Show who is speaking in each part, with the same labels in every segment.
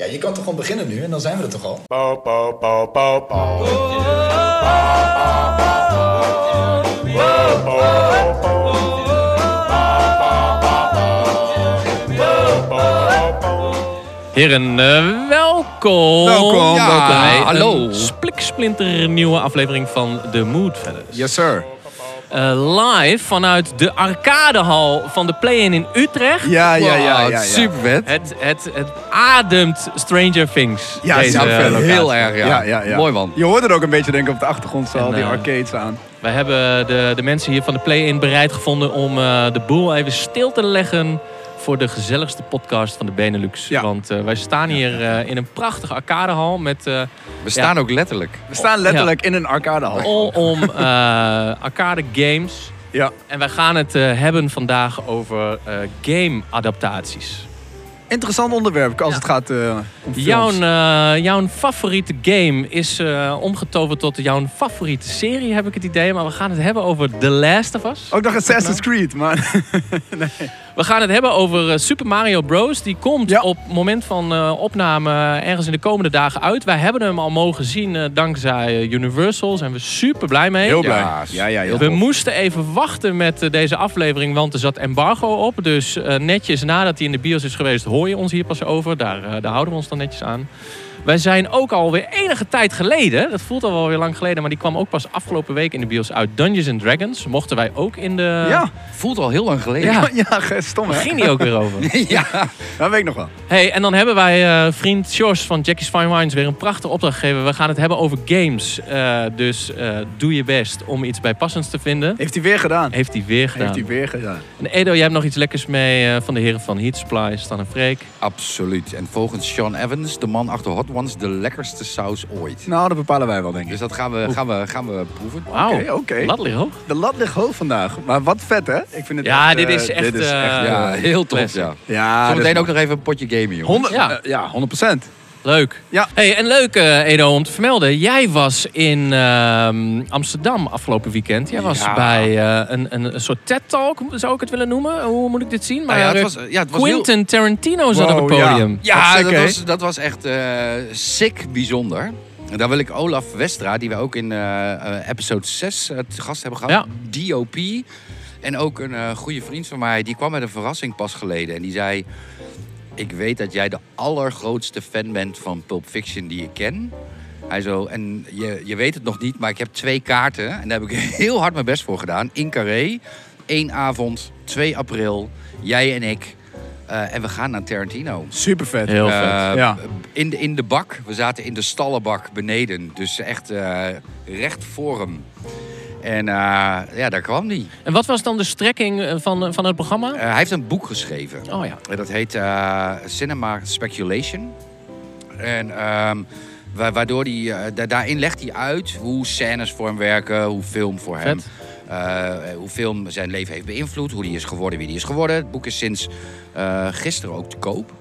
Speaker 1: Ja, je kan toch gewoon beginnen nu en dan zijn we er toch al?
Speaker 2: Bow, bow, bow, bow, bow.
Speaker 3: Heren, eh, welkom.
Speaker 4: Welkom, welkom.
Speaker 3: bij
Speaker 4: Hallo.
Speaker 3: Een spliksplinter nieuwe aflevering van The Mood Fellas.
Speaker 4: Yes, sir.
Speaker 3: Eh, live vanuit de arcadehal van de Play-In in Utrecht.
Speaker 4: Ja, ja, ja. ja,
Speaker 5: Wow,
Speaker 4: ja.
Speaker 5: Super vet.
Speaker 3: Het, het, het ademt Stranger Things.
Speaker 4: Ja,
Speaker 3: deze
Speaker 4: zou ik
Speaker 3: eh,
Speaker 4: wel.
Speaker 3: locatie.
Speaker 5: Heel erg, ja.
Speaker 4: Ja, ja, ja.
Speaker 5: Mooi man.
Speaker 4: Je hoort het ook een beetje, denk ik, op de achtergrond. Zo, al
Speaker 3: En,
Speaker 4: die
Speaker 3: eh,
Speaker 4: arcades aan.
Speaker 3: We hebben de, de mensen hier van de Play-In bereid gevonden om eh, de boel even stil te leggen voor de gezelligste podcast van de Benelux.
Speaker 4: Ja.
Speaker 3: Want eh, wij staan hier eh, in een prachtige arcadehal met eh,
Speaker 5: We staan ook letterlijk.
Speaker 4: We staan letterlijk in een arcadehal.
Speaker 3: alom eh, arcade games.
Speaker 4: Ja.
Speaker 3: En wij gaan het eh, hebben vandaag over eh, game-adaptaties.
Speaker 4: Interessant onderwerp als het gaat eh, om films.
Speaker 3: Jouw, eh, jouw favoriete game is eh, omgetoverd tot jouw favoriete serie, heb ik het idee. Maar we gaan het hebben over The Last of Us.
Speaker 4: Ook nog Assassin's Creed, maar...
Speaker 3: We gaan het hebben over eh, Super Mario Bros. Die komt
Speaker 4: Ja.
Speaker 3: op het moment van eh, opname eh, ergens in de komende dagen uit. Wij hebben hem al mogen zien eh, dankzij eh, Universal. Zijn we super blij mee.
Speaker 4: Heel
Speaker 5: blij. Ja,
Speaker 4: Ja, ja, ja.
Speaker 3: We moesten even wachten met eh, deze aflevering, want er zat embargo op. Dus eh, netjes nadat hij in de bios is geweest, hoor je ons hier pas over. Daar, eh, daar houden we ons dan netjes aan. Wij zijn ook alweer enige tijd geleden, dat voelt al wel weer lang geleden, maar die kwam ook pas afgelopen week in de bios uit. Dungeons and Dragons mochten wij ook in de.
Speaker 4: Ja,
Speaker 5: eh, Voelt al heel lang geleden.
Speaker 3: Ja.
Speaker 4: ja. ja, stom
Speaker 3: Waar
Speaker 4: hè?
Speaker 3: ging die ook weer over?
Speaker 5: Ja.
Speaker 4: Dat weet ik nog wel.
Speaker 3: Hey, en dan hebben wij eh vriend George van Jackie's Fine Wines weer een prachtige opdracht gegeven. We gaan het hebben over games. Eh, dus eh, doe je best om iets bijpassends te vinden.
Speaker 4: Heeft hij weer gedaan.
Speaker 3: Heeft hij weer
Speaker 4: Heeft
Speaker 3: gedaan.
Speaker 4: hij weer gedaan.
Speaker 3: En Edo, jij hebt nog iets lekkers mee eh, van de heren van Heat Supply, Stan en Freek.
Speaker 5: Absoluut. En volgens Sean Evans, de man achter Hot Ones, de lekkerste saus ooit.
Speaker 4: Nou, dat bepalen wij wel, denk ik.
Speaker 5: Dus dat gaan we, gaan we, gaan we proeven.
Speaker 3: Wauw,
Speaker 4: Oké, oké.
Speaker 3: lat ligt hoog.
Speaker 4: De lat ligt hoog vandaag. Maar wat vet, hè? Ik vind het
Speaker 3: Ja,
Speaker 4: echt,
Speaker 3: dit
Speaker 4: eh,
Speaker 3: is echt,
Speaker 4: Dit is echt...
Speaker 3: eh,
Speaker 5: Ja, heel tof.
Speaker 3: classic.
Speaker 5: Ja.
Speaker 4: ja, dat is
Speaker 5: Zometeen ook
Speaker 4: mooi.
Speaker 5: nog even een potje gamen, jongen.
Speaker 4: Honderd-
Speaker 3: Ja.
Speaker 4: eh, Ja, 100 procent.
Speaker 3: Leuk.
Speaker 4: Ja.
Speaker 3: Hey, en leuk eh, Edo om te vermelden. Jij was in ehm, Amsterdam afgelopen weekend. Jij was
Speaker 5: Ja.
Speaker 3: bij eh, een, een, een soort TED-talk, zou ik het willen noemen. Hoe moet ik dit zien? Maar
Speaker 5: Nou ja, het
Speaker 3: eh,
Speaker 5: was, ja, het was heel-
Speaker 3: Quentin Tarantino zat op
Speaker 4: Wow,
Speaker 3: het
Speaker 4: ja.
Speaker 3: podium.
Speaker 5: Ja,
Speaker 4: Wat
Speaker 5: dat,
Speaker 4: sick, hè?
Speaker 5: was, dat was echt eh, sick bijzonder. En daar wil ik Olaf Westra, die we ook in eh, eh, episode 6 het gast hebben gehad, DOP. En ook een eh, goede vriend van mij, die kwam met een verrassing pas geleden. En die zei, ik weet dat jij de allergrootste fan bent van Pulp Fiction die ik ken. Hij zo, en je, je weet het nog niet, maar ik heb twee kaarten. En daar heb ik heel hard mijn best voor gedaan. In Carré, één avond, 2 april, jij en ik. Eh, en we gaan naar Tarantino.
Speaker 4: Super vet.
Speaker 3: Heel vet.
Speaker 5: Eh,
Speaker 4: Ja.
Speaker 5: in, de, in de bak. We zaten in de stallenbak beneden. Dus echt eh, recht voor hem. En eh, ja, daar kwam hij.
Speaker 3: En wat was dan de strekking eh, van, eh, van het programma?
Speaker 5: Eh, hij heeft een boek geschreven.
Speaker 3: Oh ja.
Speaker 5: En Dat heet eh, Cinema Speculation. En ehm, wa- waardoor hij... eh, da- daarin legt hij uit hoe scènes voor hem werken. Hoe film voor hem...
Speaker 3: Vet.
Speaker 5: eh, hoe film zijn leven heeft beïnvloed. Hoe die is geworden, wie die is geworden. Het boek is sinds eh, gisteren ook te koop.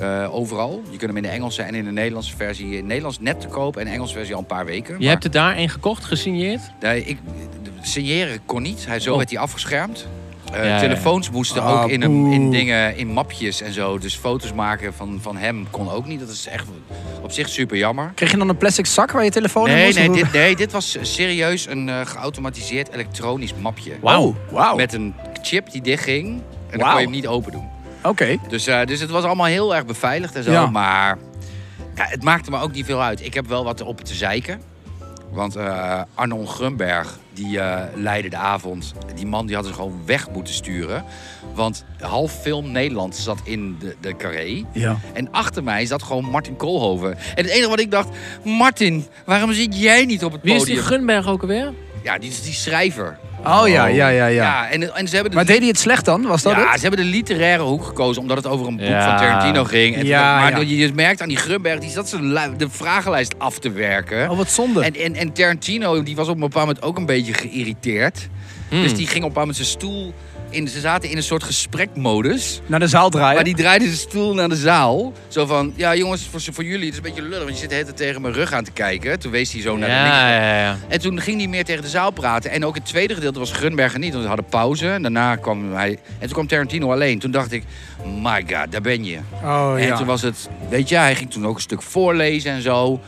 Speaker 5: Eh, overal. Je kunt hem in de Engelse en in de Nederlandse versie. In het Nederlands net te koop en in de Engelse versie al een paar weken.
Speaker 3: Je hebt er daar een gekocht, gesigneerd?
Speaker 5: Nee, ik, signeren kon niet. Hij, zo
Speaker 3: Oh.
Speaker 5: werd hij afgeschermd. Eh,
Speaker 3: Ja, ja, ja.
Speaker 5: Telefoons moesten
Speaker 4: Ah,
Speaker 5: ook in, een, in
Speaker 4: boe.
Speaker 5: dingen, in mapjes en zo. Dus foto's maken van, van hem kon ook niet. Dat is echt op zich super jammer.
Speaker 4: Kreeg je dan een plastic zak waar je telefoon
Speaker 5: Nee, nee,
Speaker 4: doen?
Speaker 5: dit, nee, dit was serieus een eh, geautomatiseerd elektronisch mapje.
Speaker 3: Wauw.
Speaker 4: Wauw.
Speaker 5: Met een chip die dichtging. En dan
Speaker 4: Wauw.
Speaker 5: kon je hem niet open doen.
Speaker 4: Oké.
Speaker 5: Dus, eh, dus het was allemaal heel erg beveiligd en zo.
Speaker 4: Ja.
Speaker 5: Maar ja, het maakte me ook niet veel uit. Ik heb wel wat op te zeiken. Want eh, Arnon Grunberg, die eh, leidde de avond. Die man die had ze gewoon weg moeten sturen. Want half film Nederland zat in de, de carré.
Speaker 4: Ja.
Speaker 5: En achter mij zat gewoon Martin Koolhoven. En het enige wat ik dacht... Martin, waarom zit jij niet op het
Speaker 3: Wie
Speaker 5: podium? Nou,
Speaker 3: is die Gunberg ook alweer?
Speaker 5: Ja, die is die schrijver.
Speaker 4: Oh ja, ja, ja, ja.
Speaker 5: en, en ze hebben de
Speaker 4: Maar deed hij het slecht dan? Was dat
Speaker 5: ja,
Speaker 4: het?
Speaker 5: ze hebben de literaire hoek gekozen omdat het over een boek
Speaker 3: Ja.
Speaker 5: van Tarantino ging. En
Speaker 4: Ja,
Speaker 5: maar
Speaker 4: ja.
Speaker 5: je je merkt aan die Grunberg, die zat zijn lu- de vragenlijst af te werken.
Speaker 4: Oh, wat zonde.
Speaker 5: en, en,
Speaker 3: Hmm.
Speaker 5: en Tarantino die was op een bepaald moment ook een beetje geïrriteerd. Dus die ging op een bepaald moment zijn stoel in, ze zaten in een soort gesprekmodus.
Speaker 4: Naar de zaal draaien.
Speaker 5: Maar die draaiden zijn stoel naar de zaal. Zo van, ja jongens, voor, voor jullie, het is een beetje lullig, want je zit de hele tijd tegen mijn rug aan te kijken. Toen wees hij zo naar de linker-
Speaker 3: Ja, ja, ja.
Speaker 5: en toen ging hij meer tegen de zaal praten. En ook het tweede gedeelte was Grunberger niet, want we hadden pauze. En daarna kwam hij. En toen kwam Tarantino alleen. Toen dacht ik, my god, daar ben je.
Speaker 4: Oh
Speaker 5: en toen was het, weet je, hij ging toen ook een stuk voorlezen en zo.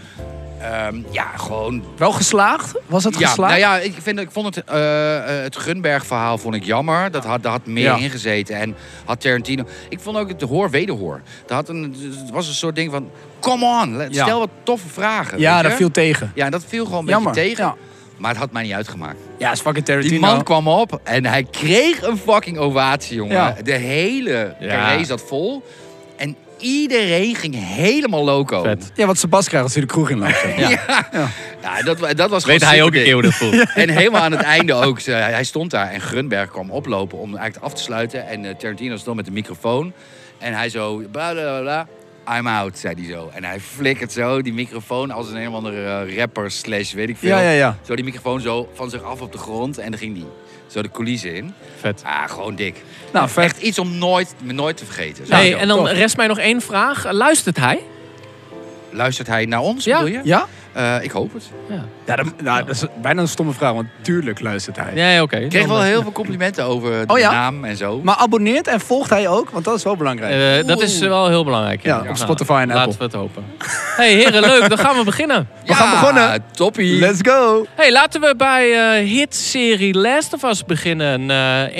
Speaker 5: Ehm, ja, gewoon.
Speaker 4: Wel geslaagd? Was het
Speaker 5: Ja,
Speaker 4: geslaagd?
Speaker 5: nou ja, ik, vind, ik vond het, eh, eh, het Gunberg-verhaal vond ik jammer. Dat had, daar had meer
Speaker 4: Ja.
Speaker 5: in gezeten. En had Tarantino. Ik vond ook het hoor-wederhoor. Dat had een, het was een soort ding van. Come on, let-
Speaker 4: Ja.
Speaker 5: stel wat toffe vragen.
Speaker 4: Ja,
Speaker 5: weet je?
Speaker 4: dat viel tegen.
Speaker 5: Ja, dat viel gewoon een
Speaker 4: Jammer.
Speaker 5: beetje tegen.
Speaker 4: Ja.
Speaker 5: Maar het had mij niet uitgemaakt.
Speaker 4: Ja, is fucking Tarantino.
Speaker 5: Die man kwam op en hij kreeg een fucking ovatie, jongen.
Speaker 4: Ja.
Speaker 5: De hele
Speaker 3: Ja.
Speaker 5: carré zat vol. En iedereen ging helemaal loco.
Speaker 3: Vet.
Speaker 4: Ja, wat Sebas krijgt als hij de kroeg in loopt.
Speaker 5: Ja. Ja, dat, wa- dat was
Speaker 3: Weet
Speaker 5: gewoon
Speaker 3: hij ook een
Speaker 5: superding.
Speaker 3: keer hoe dat voelt.
Speaker 5: En helemaal aan het einde ook. Ze- Hij stond daar en Grunberg kwam oplopen om eigenlijk af te sluiten. En eh, Tarantino stond met de microfoon. En hij zo, bla bla bla, bla. I'm out, zei hij zo. En hij flikkert zo die microfoon als een een of andere eh, rapper slash weet ik veel.
Speaker 4: Ja, ja, ja.
Speaker 5: Zo die microfoon zo van zich af op de grond. En dan ging die zo de coulissen in.
Speaker 3: Vet.
Speaker 5: Ah, gewoon dik.
Speaker 4: Nou, vet.
Speaker 5: Echt iets om nooit, nooit te vergeten.
Speaker 3: Nee,
Speaker 5: Sowieso.
Speaker 3: en dan
Speaker 4: tof.
Speaker 3: rest mij nog één vraag. Eh, Luistert hij?
Speaker 5: Luistert hij naar ons,
Speaker 3: Ja.
Speaker 5: bedoel je?
Speaker 4: Ja?
Speaker 5: Eh, ik hoop het.
Speaker 4: Ja, dat, nou, dat is bijna een stomme vraag, want tuurlijk luistert hij.
Speaker 3: Nee, oké.
Speaker 5: Ik kreeg
Speaker 3: Dan,
Speaker 5: wel
Speaker 3: eh,
Speaker 5: heel veel complimenten over de
Speaker 4: Oh ja?
Speaker 5: naam en zo.
Speaker 4: Maar abonneert en volgt hij ook, want dat is wel belangrijk.
Speaker 3: eh, dat is eh, wel heel belangrijk.
Speaker 4: Ja,
Speaker 3: inderdaad.
Speaker 4: op Spotify en
Speaker 3: laten
Speaker 4: Apple.
Speaker 3: we het hopen. hey, heren, leuk. Dan gaan we beginnen.
Speaker 5: Ja,
Speaker 4: gaan begonnen.
Speaker 5: Toppie.
Speaker 4: Let's go!
Speaker 3: hey, laten we bij eh, hitserie Last of Us beginnen. Eh,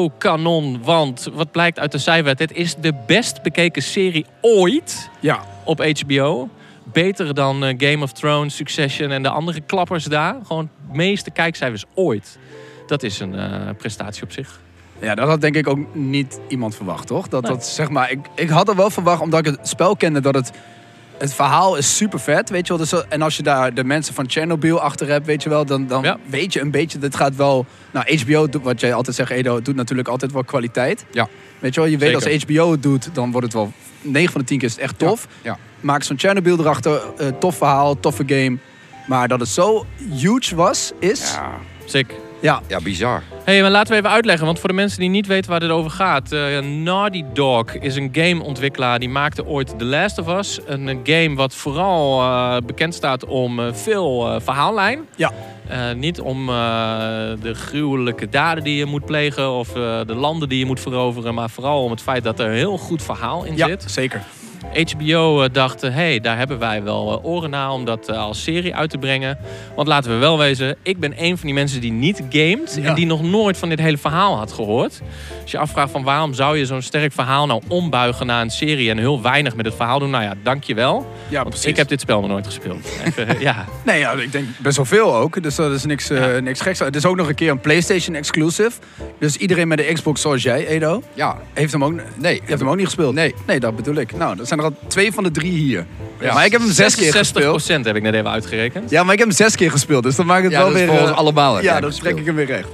Speaker 3: HBO-kanon, want wat blijkt uit de cijfers... dit is de best bekeken serie ooit
Speaker 4: Ja.
Speaker 3: op HBO. Beter dan eh, Game of Thrones, Succession en de andere klappers daar. Gewoon de meeste kijkcijfers ooit. Dat is een eh, prestatie op zich.
Speaker 4: Ja, dat had denk ik ook niet iemand verwacht, toch? Dat,
Speaker 3: Nee.
Speaker 4: dat zeg maar, ik, ik had er wel verwacht, omdat ik het spel kende, dat het, het verhaal is super vet, weet je wel. Dus, dat- en als je daar de mensen van Chernobyl achter hebt, weet je wel, dan, dan
Speaker 3: Ja.
Speaker 4: weet je een beetje, dit gaat wel... Nou, HBO, doet- wat jij altijd zegt, Edo, doet natuurlijk altijd wel kwaliteit.
Speaker 5: Ja.
Speaker 4: Weet je wel, je weet
Speaker 3: Zeker.
Speaker 4: als HBO het doet, dan wordt het wel... 9 van de 10 keer is het echt tof.
Speaker 5: Ja.
Speaker 4: Maak zo'n Chernobyl erachter, eh, tof verhaal, toffe game. Maar dat het zo huge was, is... Ja,
Speaker 5: Ja,
Speaker 3: Sick.
Speaker 5: ja, bizar.
Speaker 3: Hé, hey, maar laten we even uitleggen, want voor de mensen die niet weten waar dit over gaat. eh, Naughty Dog is een gameontwikkelaar die maakte ooit The Last of Us. Een eh, game wat vooral eh, bekend staat om eh, veel eh, verhaallijn.
Speaker 4: Ja.
Speaker 3: Eh, niet om eh, de gruwelijke daden die je moet plegen of eh, de landen die je moet veroveren, maar vooral om het feit dat er een heel goed verhaal in zit.
Speaker 4: zeker.
Speaker 3: HBO eh, dacht, hé, hey, daar hebben wij wel eh, oren naar om dat eh, als serie uit te brengen. Want laten we wel wezen, ik ben een van die mensen die niet gamet
Speaker 4: Ja.
Speaker 3: en die nog nooit van dit hele verhaal had gehoord. Als je afvraagt van waarom zou je zo'n sterk verhaal nou ombuigen naar een serie en heel weinig met het verhaal doen, nou ja, dankjewel.
Speaker 4: Ja,
Speaker 3: Want
Speaker 4: precies.
Speaker 3: ik heb dit spel nog nooit gespeeld. Even, eh, ja,
Speaker 4: Nee, ja, ik denk best wel veel ook. Dus dat is niks, eh, niks geks. Het is ook nog een keer een PlayStation exclusive. Dus iedereen met de Xbox zoals jij, Edo,
Speaker 5: Ja.
Speaker 4: heeft hem ook.
Speaker 5: Nee.
Speaker 4: Je hebt hem ook niet gespeeld.
Speaker 5: Nee.
Speaker 4: Nee, dat bedoel ik. Nou, dat zijn er al twee van de drie hier.
Speaker 5: Ja.
Speaker 4: Maar ik heb hem zes keer
Speaker 3: 60
Speaker 4: gespeeld.
Speaker 3: heb ik net even uitgerekend.
Speaker 4: Ja, maar ik heb hem zes keer gespeeld. Dus dan maakt het
Speaker 5: Ja,
Speaker 4: wel
Speaker 5: dat is
Speaker 4: weer.
Speaker 5: voor ons
Speaker 4: eh,
Speaker 5: allemaal heb jij
Speaker 4: Ja,
Speaker 5: hem
Speaker 4: dan
Speaker 5: gespeeld.
Speaker 4: trek ik hem weer recht.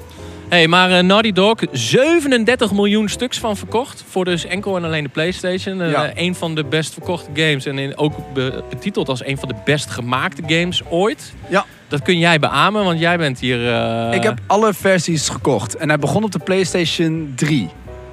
Speaker 3: hey, maar eh, Naughty Dog, 37 miljoen stuks van verkocht. Voor dus enkel en alleen de PlayStation. Eh,
Speaker 4: Ja.
Speaker 3: een van de best verkochte games. En in, ook be- betiteld als een van de best gemaakte games ooit.
Speaker 4: Ja.
Speaker 3: Dat kun jij beamen, want jij bent hier... eh,
Speaker 4: Ik heb alle versies gekocht. En hij begon op de PlayStation 3.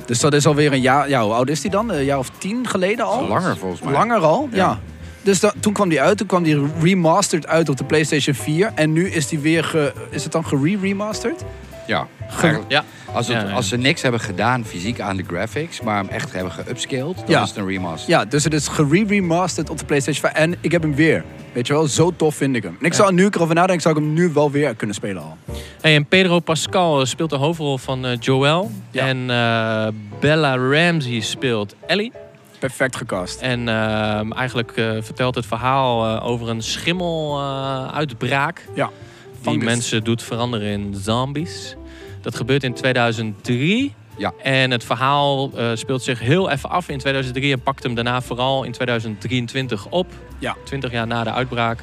Speaker 4: Dus dat is alweer een jaar. Ja, hoe oud is die dan? Een jaar of tien geleden al?
Speaker 5: Langer volgens mij.
Speaker 4: Langer al, ja. Dus da- toen kwam die uit, toen kwam die remastered uit op de PlayStation 4. En nu is die weer, ge- is het dan gere-remasterd?
Speaker 5: Ja. Eigenlijk,
Speaker 3: Ja.
Speaker 5: Als, het,
Speaker 3: Ja, ja.
Speaker 5: als ze niks hebben gedaan fysiek aan de graphics, maar hem echt hebben geupscaled, dan
Speaker 4: Ja.
Speaker 5: is het een remaster.
Speaker 4: Ja, dus het is gere-remasterd op de PlayStation 5. En ik heb hem weer. Weet je wel, zo tof vind ik hem. En ik zou nu ik erover nadenken, zou ik hem nu wel weer kunnen spelen al.
Speaker 3: Hey, en Pedro Pascal eh, speelt de hoofdrol van eh, Joel.
Speaker 4: Ja.
Speaker 3: En eh, Bella Ramsey speelt Ellie.
Speaker 4: Perfect gecast.
Speaker 3: En ehm, eigenlijk eh, vertelt het verhaal eh, over een eh, schimmeluitbraak.
Speaker 4: Ja,
Speaker 3: die
Speaker 4: fungus.
Speaker 3: mensen doet veranderen in zombies. Dat gebeurt in 2003.
Speaker 5: Ja.
Speaker 3: En het verhaal eh, speelt zich heel even af in 2003 en pakt hem daarna vooral in 2023 op.
Speaker 4: Ja.
Speaker 3: 20 jaar na de uitbraak.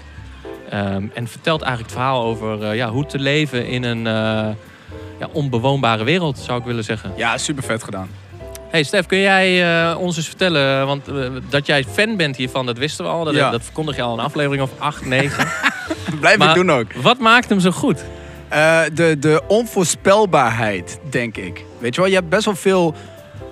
Speaker 3: Ehm, en vertelt eigenlijk het verhaal over eh, ja, hoe te leven in een eh, ja, onbewoonbare wereld, zou ik willen zeggen.
Speaker 4: Ja, super vet gedaan.
Speaker 3: Hey Stef, kun jij eh, ons eens vertellen, want eh, dat jij fan bent hiervan, dat wisten we al. Dat,
Speaker 4: Ja.
Speaker 3: dat verkondig je al in een aflevering of 8, 9.
Speaker 4: Blijf
Speaker 3: Maar-
Speaker 4: ik doen ook.
Speaker 3: Wat maakt hem zo goed?
Speaker 4: Eh, de, de onvoorspelbaarheid, denk ik. Weet je wel, je hebt best wel veel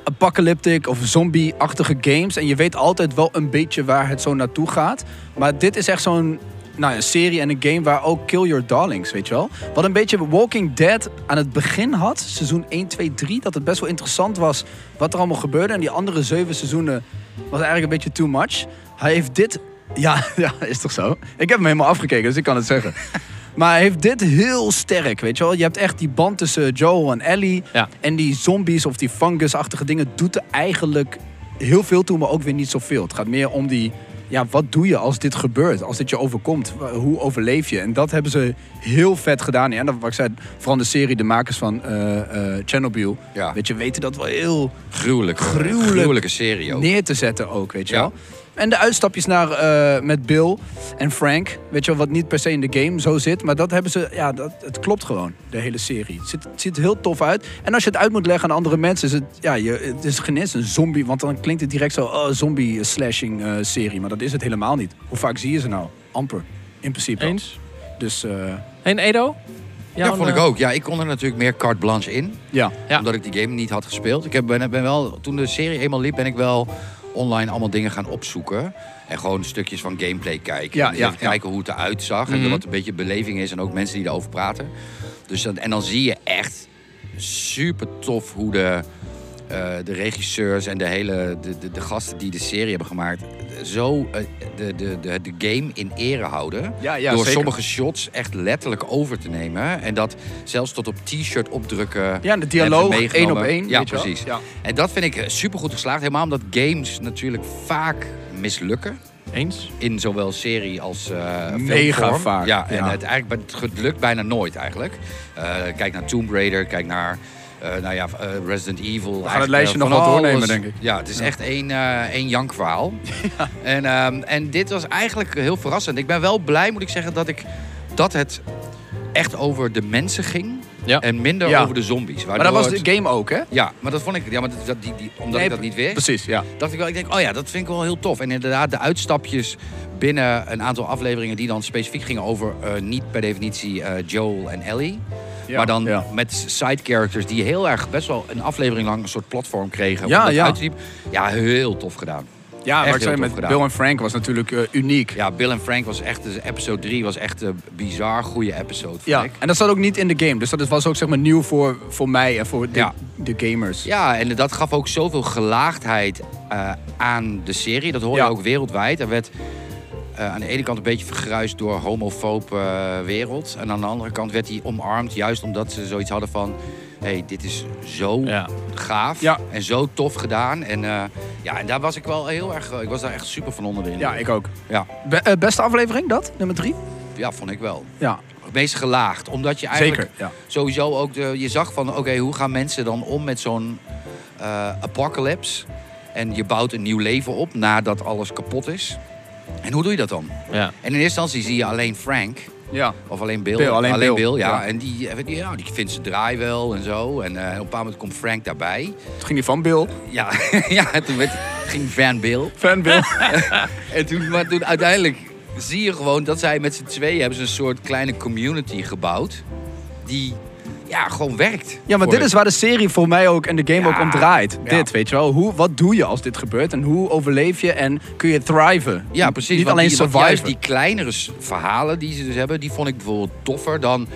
Speaker 4: apocalyptic of zombie-achtige games. En je weet altijd wel een beetje waar het zo naartoe gaat. Maar dit is echt zo'n nou, een serie en een game waar ook Kill Your Darlings, weet je wel. Wat een beetje Walking Dead aan het begin had, seizoen 1, 2, 3. Dat het best wel interessant was wat er allemaal gebeurde. En die andere zeven seizoenen was eigenlijk een beetje too much. Hij heeft dit... Ja, ja, is toch zo? Ik heb hem helemaal afgekeken, dus ik kan het zeggen. Maar hij heeft dit heel sterk, weet je wel. Je hebt echt die band tussen Joel en Ellie.
Speaker 3: Ja.
Speaker 4: En die zombies of die fungusachtige dingen doet er eigenlijk heel veel toe, maar ook weer niet zoveel. Het gaat meer om die, ja, wat doe je als dit gebeurt? Als dit je overkomt, Wa- hoe overleef je? En dat hebben ze heel vet gedaan. Ja, en dat, wat ik zei, vooral de serie, de makers van eh, eh, Chernobyl.
Speaker 5: Ja.
Speaker 4: Weet je, weten dat wel heel
Speaker 5: Gruwelijk. hoor.
Speaker 4: Gruwelijk.
Speaker 5: Gruwelijke serie ook.
Speaker 4: neer te zetten ook, weet je
Speaker 5: Ja.
Speaker 4: wel. En de uitstapjes naar, eh, met Bill en Frank, weet je wel, wat niet per se in de game zo zit. Maar dat hebben ze, ja, dat, het klopt gewoon, de hele serie. Het ziet, het ziet er heel tof uit. En als je het uit moet leggen aan andere mensen, is het, ja, je, het is geen eens een zombie. Want dan klinkt het direct zo, oh, zombie slashing eh, serie. Maar dat is het helemaal niet. Hoe vaak zie je ze nou? Amper, in principe. wel.
Speaker 3: Eens?
Speaker 4: Dus, eh,
Speaker 3: En Edo?
Speaker 5: Ja,
Speaker 3: Jouw,
Speaker 5: vond ik
Speaker 3: eh,
Speaker 5: ook. Ja, ik kon er natuurlijk meer carte blanche in.
Speaker 4: ja.
Speaker 3: Ja.
Speaker 5: Omdat ik die game niet had gespeeld. Ik heb, ben, ben wel, toen de serie eenmaal liep, ben ik wel online allemaal dingen gaan opzoeken. En gewoon stukjes van gameplay kijken.
Speaker 4: Ja,
Speaker 5: En dus
Speaker 4: ja,
Speaker 5: even
Speaker 4: ja. Mhm.
Speaker 5: kijken hoe het eruit zag. En wat een beetje beleving is. En ook mensen die erover praten. Dus dat, en dan zie je echt super tof hoe de, eh, de regisseurs en de hele de, de, de gasten die de serie hebben gemaakt. Zo eh, de, de, de, de game in ere houden.
Speaker 4: Ja, ja,
Speaker 5: door
Speaker 4: zeker.
Speaker 5: sommige shots echt letterlijk over te nemen. En dat zelfs tot op t-shirt opdrukken.
Speaker 4: Ja, en de
Speaker 5: Hebben
Speaker 4: dialoog,
Speaker 5: meegenomen.
Speaker 4: één op één,
Speaker 5: Ja,
Speaker 4: weet je wel.
Speaker 5: precies.
Speaker 4: Ja.
Speaker 5: En dat vind ik super goed geslaagd. Helemaal omdat games natuurlijk vaak mislukken.
Speaker 3: Eens?
Speaker 5: In zowel serie als eh
Speaker 4: Mega
Speaker 5: filmvorm.
Speaker 4: vaak,
Speaker 5: Ja, en
Speaker 4: ja.
Speaker 5: het, eigenlijk, bij- het lukt bijna nooit eigenlijk. Eh, kijk naar Tomb Raider, kijk naar eh, nou ja, eh, Resident Evil. We
Speaker 4: het lijstje nog wel doornemen, denk ik.
Speaker 5: Ja, het is echt één, eh één jankverhaal. En, ehm, en dit was eigenlijk heel verrassend. Ik ben wel blij, moet ik zeggen, dat, ik, dat het echt over de mensen ging.
Speaker 3: Ja.
Speaker 5: En minder
Speaker 4: Ja.
Speaker 5: over de zombies.
Speaker 4: Maar dat was
Speaker 5: Waardoor het-
Speaker 4: de game ook, hè?
Speaker 5: ja, maar dat vond ik. Ja, maar dat, dat- die, die, omdat
Speaker 4: Nee,
Speaker 5: ik dat niet wist.
Speaker 4: Precies, ja.
Speaker 5: Dacht ik wel, ik denk, oh ja, dat vind ik wel heel tof. En inderdaad, de uitstapjes binnen een aantal afleveringen die dan specifiek gingen over eh, niet per definitie eh, Joel en Ellie.
Speaker 4: Ja,
Speaker 5: maar dan
Speaker 4: ja.
Speaker 5: met side characters die heel erg best wel een aflevering lang een soort platform kregen.
Speaker 4: Ja,
Speaker 5: omdat het
Speaker 4: ja.
Speaker 5: uitliep. ja heel tof gedaan.
Speaker 4: Ja,
Speaker 5: Echt
Speaker 4: wat ik zei
Speaker 5: heel
Speaker 4: met
Speaker 5: tof gedaan.
Speaker 4: Bill en Frank was natuurlijk eh, uniek.
Speaker 5: Ja, Bill en Frank was echt, dus episode 3 was echt een bizar goede episode. vond
Speaker 4: Ja,
Speaker 5: ik.
Speaker 4: en dat zat ook niet in de game. Dus dat was ook zeg maar nieuw voor, voor mij en voor de,
Speaker 5: Ja.
Speaker 4: de gamers.
Speaker 5: Ja, en dat gaf ook zoveel gelaagdheid eh, aan de serie. Dat hoor je
Speaker 4: Ja.
Speaker 5: ook wereldwijd. Er werd eh, aan de ene kant een beetje vergruisd door homofoob eh, wereld. En aan de andere kant werd hij omarmd. Juist omdat ze zoiets hadden van... Hé, hey, dit is zo
Speaker 3: Ja.
Speaker 5: gaaf
Speaker 4: Ja.
Speaker 5: en zo tof gedaan. En, eh, ja, en daar was ik wel heel erg... eh, ik was daar echt super van onder de indruk.
Speaker 4: Ja, ik ook.
Speaker 5: ja,
Speaker 4: Be- eh, beste aflevering, dat? Nummer drie?
Speaker 5: ja, vond ik wel.
Speaker 4: Ja,
Speaker 5: Het meest gelaagd. Omdat je eigenlijk
Speaker 4: zeker. Ja.
Speaker 5: sowieso ook de, je zag van oké, hoe gaan mensen dan om met zo'n eh, apocalypse? En je bouwt een nieuw leven op nadat alles kapot is. En hoe doe je dat dan?
Speaker 3: Ja.
Speaker 5: En in eerste instantie zie je alleen Frank.
Speaker 4: ja.
Speaker 5: Of alleen Bill.
Speaker 4: Bill, alleen Bill,
Speaker 5: ja.
Speaker 4: ja.
Speaker 5: En die, eh, die, ja, die vindt zijn draai wel en zo. En eh, op een bepaald moment komt Frank daarbij.
Speaker 4: Toen ging die van Bill.
Speaker 5: Ja, ja en toen werd, ging Van Bill.
Speaker 4: Fan Bill.
Speaker 5: En toen, maar toen uiteindelijk zie je gewoon dat zij met z'n tweeën hebben ze een soort kleine community gebouwd. Die ja, gewoon werkt.
Speaker 4: ja, maar
Speaker 5: voor
Speaker 4: dit is waar de serie voor mij ook en de game
Speaker 5: Ja.
Speaker 4: ook om draait.
Speaker 5: Ja.
Speaker 4: Dit, weet je wel. Hoe, wat doe je als dit gebeurt en hoe overleef je en kun je thriven?
Speaker 5: Ja, precies.
Speaker 4: Niet
Speaker 5: want
Speaker 4: alleen
Speaker 5: die, want
Speaker 4: surviven.
Speaker 5: Juist die kleinere s- verhalen die ze dus hebben, die vond ik bijvoorbeeld toffer dan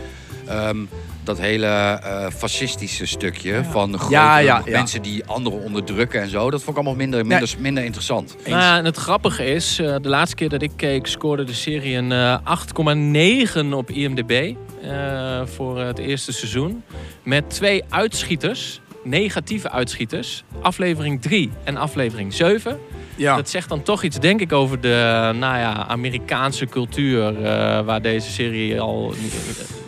Speaker 5: ehm, dat hele eh, fascistische stukje van grote
Speaker 4: Ja, ja, ja.
Speaker 5: mensen die anderen onderdrukken en zo. Dat vond ik allemaal minder, minder, minder interessant.
Speaker 3: Nou ja, en het grappige is, eh, de laatste keer dat ik keek scoorde de serie een eh, 8,9 op IMDb eh, voor het eerste seizoen. Met twee uitschieters, negatieve uitschieters, aflevering 3 en aflevering 7.
Speaker 4: Ja.
Speaker 3: Dat zegt dan toch iets, denk ik, over de nou ja, Amerikaanse cultuur, eh, waar deze serie al,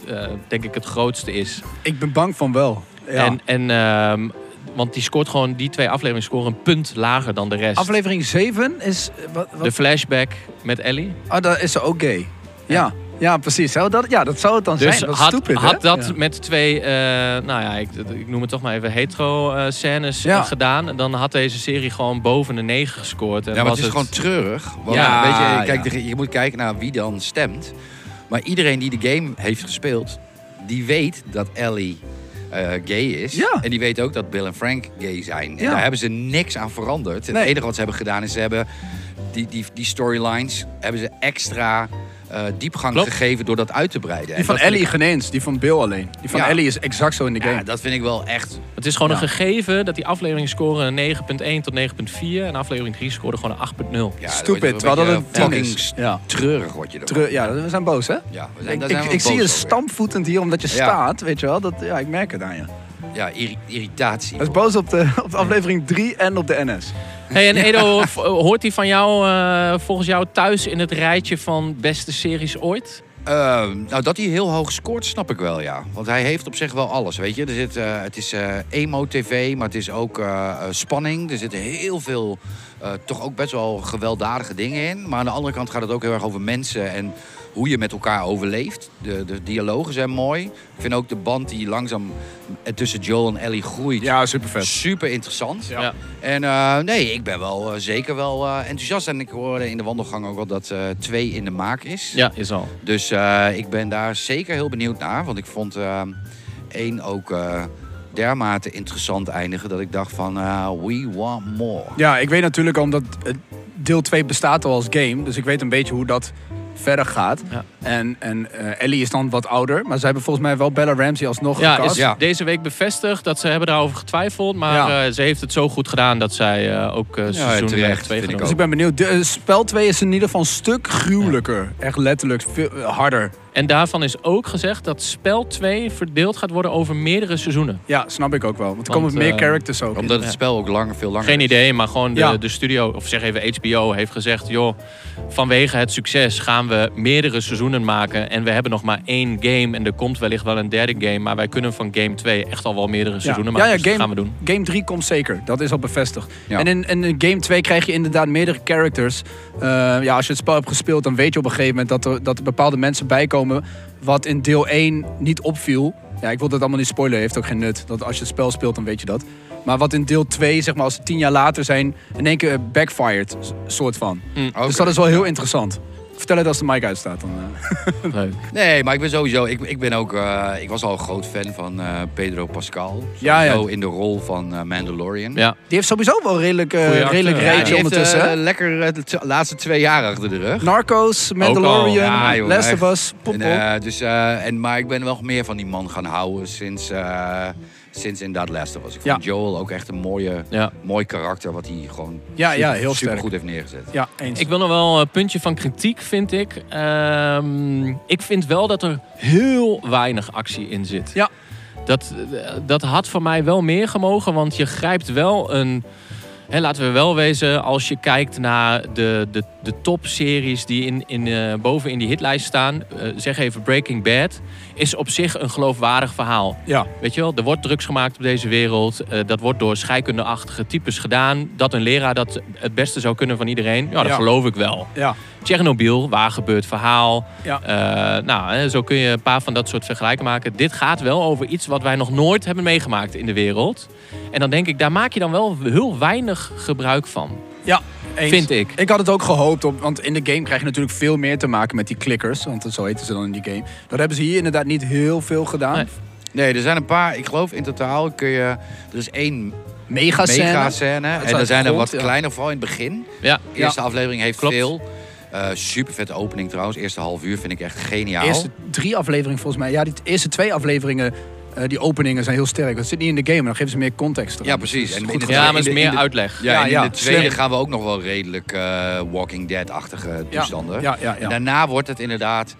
Speaker 3: eh, eh, denk ik, het grootste is.
Speaker 4: Ik ben bang van wel. Ja.
Speaker 3: En, en, ehm, want die scoort gewoon, die twee afleveringen scoren een punt lager dan de rest.
Speaker 4: Aflevering 7 is... eh, Wat, wat-
Speaker 3: De flashback met Ellie.
Speaker 4: Oh, dat is ze ook gay. Ja, ja precies. Zou dat, ja, dat zou het dan
Speaker 3: Dus
Speaker 4: zijn. Dat is
Speaker 3: had,
Speaker 4: stupid, hè?
Speaker 3: had dat
Speaker 4: Ja.
Speaker 3: met twee, eh, nou ja, ik, ik noem het toch maar even hetero-scènes
Speaker 4: Ja.
Speaker 3: eh, gedaan, dan had deze serie gewoon boven de 9 gescoord. En
Speaker 5: Ja, maar
Speaker 3: was
Speaker 5: het is gewoon treurig. Want
Speaker 4: Eh, Ja,
Speaker 5: weet je, kijk,
Speaker 4: ja.
Speaker 5: de- je moet kijken naar wie dan stemt. Maar iedereen die de game heeft gespeeld, die weet dat Ellie eh, gay is.
Speaker 4: Ja.
Speaker 5: En die weet ook dat Bill en Frank gay zijn. En
Speaker 4: Ja.
Speaker 5: daar hebben ze niks aan veranderd.
Speaker 4: Nee.
Speaker 5: Het enige wat ze hebben gedaan is ze hebben die, die, die storylines hebben ze extra eh, diepgang
Speaker 3: Klopt.
Speaker 5: gegeven door dat uit te breiden. En
Speaker 4: Die van
Speaker 5: dat vind
Speaker 4: Ellie geen eens, die van Bill alleen. Die van
Speaker 5: Ja.
Speaker 4: Ellie is exact zo in de
Speaker 5: ik-
Speaker 4: game.
Speaker 5: ja, dat vind ik wel echt.
Speaker 3: Het is gewoon
Speaker 4: Ja.
Speaker 3: een gegeven dat die afleveringen scoren een 9.1 tot 9.4. En aflevering 3 scoorde gewoon een 8.0.
Speaker 5: Ja,
Speaker 4: Stupid,
Speaker 5: dat wordt
Speaker 4: terwijl dat
Speaker 5: beetje
Speaker 4: een tien
Speaker 5: fucking
Speaker 4: is.
Speaker 5: st-
Speaker 4: Ja.
Speaker 5: Treurig word je ervan.
Speaker 4: Terug- ja, we zijn boos, hè?
Speaker 5: Ja, we zijn,
Speaker 4: Ik,
Speaker 5: daar
Speaker 4: ik,
Speaker 5: zijn we
Speaker 4: ik zie
Speaker 5: boos
Speaker 4: je
Speaker 5: over.
Speaker 4: stampvoetend hier omdat je
Speaker 5: Ja.
Speaker 4: staat, weet je wel. Dat, ja, ik merk het aan je.
Speaker 5: Ja, irri- irritatie.
Speaker 4: Hij is boos op de, op de aflevering 3 en op de NS.
Speaker 3: Hey, en Edo, v- eh, hoort die van jou eh, volgens jou thuis in het rijtje van beste series ooit?
Speaker 5: Ehm, nou, dat hij heel hoog scoort, snap ik wel, ja. Want hij heeft op zich wel alles, weet je. Er zit, eh, het is eh, emo-tv, maar het is ook eh, eh, spanning. Er zitten heel veel, eh, toch ook best wel gewelddadige dingen in. Maar aan de andere kant gaat het ook heel erg over mensen en hoe je met elkaar overleeft. De, de dialogen zijn mooi. Ik vind ook de band die langzaam eh, tussen Joel en Ellie groeit.
Speaker 4: super
Speaker 5: Super interessant.
Speaker 3: Ja.
Speaker 5: En eh, nee, ik ben wel eh, zeker wel eh, enthousiast. En ik hoorde in de wandelgang ook al dat eh, twee in de maak is.
Speaker 3: Ja, is al.
Speaker 5: Dus eh, ik ben daar zeker heel benieuwd naar. Want ik vond eh, één ook eh, dermate interessant eindigen dat ik dacht van eh, we want more.
Speaker 4: Ja, ik weet natuurlijk omdat eh, deel 2 bestaat al als game. Dus ik weet een beetje hoe dat verder gaat.
Speaker 3: Ja.
Speaker 4: En, en eh, Ellie is dan wat ouder. Maar ze hebben volgens mij wel Bella Ramsey alsnog
Speaker 3: Ja,
Speaker 4: gecast.
Speaker 3: is
Speaker 5: Ja.
Speaker 3: deze week bevestigd dat ze hebben daarover getwijfeld. Maar
Speaker 4: Ja.
Speaker 3: eh, ze heeft het zo goed gedaan dat zij eh, ook eh, seizoen
Speaker 5: terecht,
Speaker 3: 2
Speaker 5: vind ik
Speaker 4: Dus ik ben benieuwd. De, eh, spel 2 is in ieder geval een stuk gruwelijker. Echt letterlijk veel, eh, harder.
Speaker 3: En daarvan is ook gezegd dat spel 2 verdeeld gaat worden over meerdere seizoenen.
Speaker 4: Ja, snap ik ook wel. Want er
Speaker 3: Want,
Speaker 4: komen meer
Speaker 3: eh,
Speaker 4: characters ook. in.
Speaker 5: Omdat het spel ook langer, veel langer
Speaker 3: Geen
Speaker 5: is.
Speaker 3: idee, maar gewoon de,
Speaker 4: Ja.
Speaker 3: de studio, of zeg even HBO, heeft gezegd... joh, vanwege het succes gaan we meerdere seizoenen maken... en we hebben nog maar één game en er komt wellicht wel een derde game... maar wij kunnen van game 2 echt al wel meerdere seizoenen maken. dus dat gaan we doen.
Speaker 4: Game 3 komt zeker. Dat is al bevestigd.
Speaker 5: Ja.
Speaker 4: En in, in Game 2 krijg je inderdaad meerdere characters. Eh, ja, als je het spel hebt gespeeld, dan weet je op een gegeven moment dat er, dat er bepaalde mensen bijkomen. wat in deel 1 niet opviel. Ja, ik wil dat allemaal niet spoilen, heeft ook geen nut. Dat als je het spel speelt, dan weet je dat. Maar wat in deel 2, zeg maar, als ze tien jaar later zijn. in één keer eh, backfired, s- soort van.
Speaker 3: Mm,
Speaker 5: Oké.
Speaker 4: Dus dat is wel heel interessant. Vertel het als de mic uitstaat. Dan, eh.
Speaker 3: Leuk.
Speaker 5: Nee, maar ik ben sowieso. Ik, ik ben ook. eh, ik was al een groot fan van eh, Pedro Pascal.
Speaker 4: Ja, ja.
Speaker 5: Zo in de rol van eh, Mandalorian.
Speaker 3: Ja.
Speaker 4: Die heeft sowieso wel redelijk, eh,
Speaker 3: Goeie acteur.
Speaker 4: redelijk
Speaker 3: Ja,
Speaker 5: Ja, die
Speaker 4: rijtje
Speaker 5: heeft,
Speaker 4: ondertussen.
Speaker 5: eh,
Speaker 4: hè?
Speaker 5: lekker eh, de t- laatste twee jaar achter de rug.
Speaker 4: Narcos, Mandalorian,
Speaker 5: ja, joh,
Speaker 4: Last
Speaker 5: echt.
Speaker 4: of Us, pop,
Speaker 5: En,
Speaker 4: pop.
Speaker 5: eh, dus, eh, en, maar ik ben wel meer van die man gaan houden sinds, eh sinds inderdaad Last of Us. Ik
Speaker 4: Ja.
Speaker 5: vond Joel ook echt een mooie,
Speaker 3: Ja.
Speaker 5: mooi karakter wat hij gewoon
Speaker 4: Ja,
Speaker 5: super,
Speaker 4: ja, heel
Speaker 5: super
Speaker 4: sterk.
Speaker 5: goed heeft neergezet.
Speaker 4: Ja, eens.
Speaker 3: Ik wil nog wel een puntje van kritiek, vind ik. Ehm, ik vind wel dat er heel weinig actie in zit.
Speaker 4: Ja.
Speaker 3: Dat, dat had voor mij wel meer gemogen, want je grijpt wel een... Hè, laten we wel wezen, als je kijkt naar de, de, de topseries die in, in, eh, boven in die hitlijst staan... eh, zeg even Breaking Bad, is op zich een geloofwaardig verhaal.
Speaker 4: ja.
Speaker 3: Weet je wel, er wordt drugs gemaakt op deze wereld. Eh, dat wordt door scheikundeachtige types gedaan. Dat een leraar dat het beste zou kunnen van iedereen. Ja, dat
Speaker 4: Ja.
Speaker 3: geloof ik wel.
Speaker 4: Ja.
Speaker 3: Tsjernobyl, waar gebeurt verhaal.
Speaker 4: Ja.
Speaker 3: Eh, nou, hè, zo kun je een paar van dat soort vergelijken maken. Dit gaat wel over iets wat wij nog nooit hebben meegemaakt in de wereld. En dan denk ik, daar maak je dan wel heel weinig gebruik van.
Speaker 4: ja eens.
Speaker 3: Vind ik.
Speaker 4: Ik had het ook gehoopt, op, want in de game krijg je natuurlijk veel meer te maken met die klikkers. Want zo heten ze dan in die game. Dat hebben ze hier inderdaad niet heel veel gedaan.
Speaker 3: Nee.
Speaker 5: Nee, er zijn een paar, ik geloof in totaal kun je, er is één
Speaker 4: Mega scène.
Speaker 5: mega scène
Speaker 4: is
Speaker 5: en
Speaker 4: uit
Speaker 5: er
Speaker 4: de
Speaker 5: zijn er
Speaker 4: grond,
Speaker 5: wat
Speaker 4: ja.
Speaker 5: kleiner, vooral in het begin.
Speaker 3: Ja,
Speaker 5: De eerste aflevering heeft
Speaker 3: Klopt.
Speaker 5: veel. Eh super vette opening trouwens, eerste half uur vind ik echt geniaal.
Speaker 4: eerste drie afleveringen volgens mij. Ja, die eerste twee afleveringen, eh, die openingen zijn heel sterk. Dat zit niet in de game, maar dan geven ze meer context. eraan.
Speaker 5: Ja, precies.
Speaker 4: Dus
Speaker 5: En
Speaker 4: goed
Speaker 5: in de-
Speaker 4: gedaan.
Speaker 3: ja maar het
Speaker 5: in
Speaker 3: is
Speaker 5: de- in
Speaker 3: meer
Speaker 5: de-
Speaker 3: uitleg.
Speaker 5: ja,
Speaker 4: ja,
Speaker 5: en in
Speaker 4: ja,
Speaker 5: de tweede
Speaker 4: slim.
Speaker 5: gaan we ook nog wel redelijk eh, Walking Dead-achtige
Speaker 4: Ja,
Speaker 5: toestanden.
Speaker 4: ja, ja, ja.
Speaker 5: En daarna wordt het inderdaad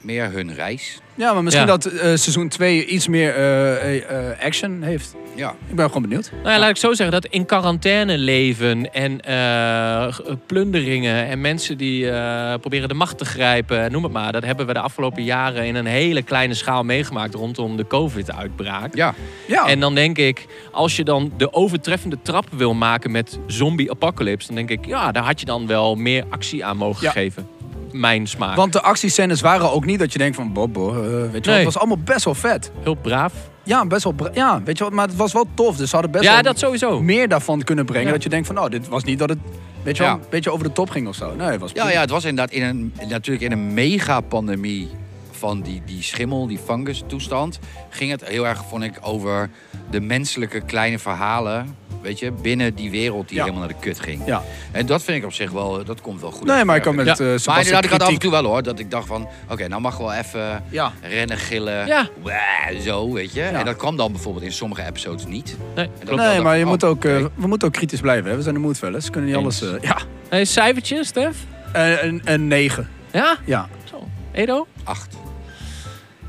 Speaker 5: meer hun reis.
Speaker 4: Ja, maar misschien
Speaker 3: Ja.
Speaker 4: dat eh, seizoen 2 iets meer eh, eh, eh, action heeft.
Speaker 5: Ja.
Speaker 4: Ik ben gewoon benieuwd.
Speaker 3: Nou ja, laat ik zo zeggen, dat in quarantaine leven en eh, g- plunderingen en mensen die eh, proberen de macht te grijpen, noem het maar. Dat hebben we de afgelopen jaren in een hele kleine schaal meegemaakt rondom de COVID-uitbraak.
Speaker 5: Ja,
Speaker 4: Ja.
Speaker 3: En dan denk ik, als je dan de overtreffende trap wil maken met zombie apocalypse, dan denk ik, ja, daar had je dan wel meer actie aan mogen
Speaker 4: Ja.
Speaker 3: geven. Mijn smaak.
Speaker 4: Want de actiescènes waren ook niet dat je denkt van... Bobo, eh, weet je wel,
Speaker 3: Nee.
Speaker 4: het was allemaal best wel vet.
Speaker 3: Heel braaf.
Speaker 4: Ja, best wel. bra- Ja, weet je wat, maar het was wel tof. Dus ze hadden best
Speaker 3: ja,
Speaker 4: wel
Speaker 3: dat sowieso.
Speaker 4: meer daarvan kunnen brengen.
Speaker 3: Ja.
Speaker 4: Dat je denkt van, nou, dit was niet dat het, weet je wel,
Speaker 5: Ja.
Speaker 4: een beetje over de top ging of zo. Nee, het was
Speaker 5: ja, ja, het was inderdaad in een, natuurlijk in een mega-pandemie van die, die schimmel, die fungus toestand, ging het heel erg, vond ik, over de menselijke kleine verhalen. Weet je, binnen die wereld die
Speaker 4: Ja.
Speaker 5: helemaal naar de kut ging.
Speaker 4: Ja.
Speaker 5: En dat vind ik op zich wel, dat komt wel goed.
Speaker 4: Nee, maar ik kan
Speaker 5: over.
Speaker 4: met
Speaker 3: Ja. Maar
Speaker 4: eh
Speaker 5: Maar
Speaker 4: Sebastian
Speaker 5: inderdaad, ik had af en
Speaker 4: kritiek.
Speaker 5: toe wel hoor, dat ik dacht van, oké, nou mag wel even
Speaker 4: Ja.
Speaker 5: rennen, gillen,
Speaker 3: Ja.
Speaker 5: wah, zo, weet je. En dat kwam dan bijvoorbeeld in sommige episodes niet.
Speaker 3: Nee,
Speaker 5: En dat
Speaker 3: klopt.
Speaker 5: wel
Speaker 4: Nee,
Speaker 5: dacht
Speaker 4: maar
Speaker 5: ik,
Speaker 4: je
Speaker 5: oh,
Speaker 4: moet ook, eh,
Speaker 5: oké.
Speaker 4: we moeten ook kritisch blijven. Hè? We zijn de moedfellas. Ze kunnen niet alles... eh, ja,
Speaker 3: Hey, cijfertjes, Stef?
Speaker 4: Eh, een, een 9.
Speaker 3: Ja?
Speaker 4: Ja.
Speaker 3: Zo. Edo?
Speaker 5: Acht.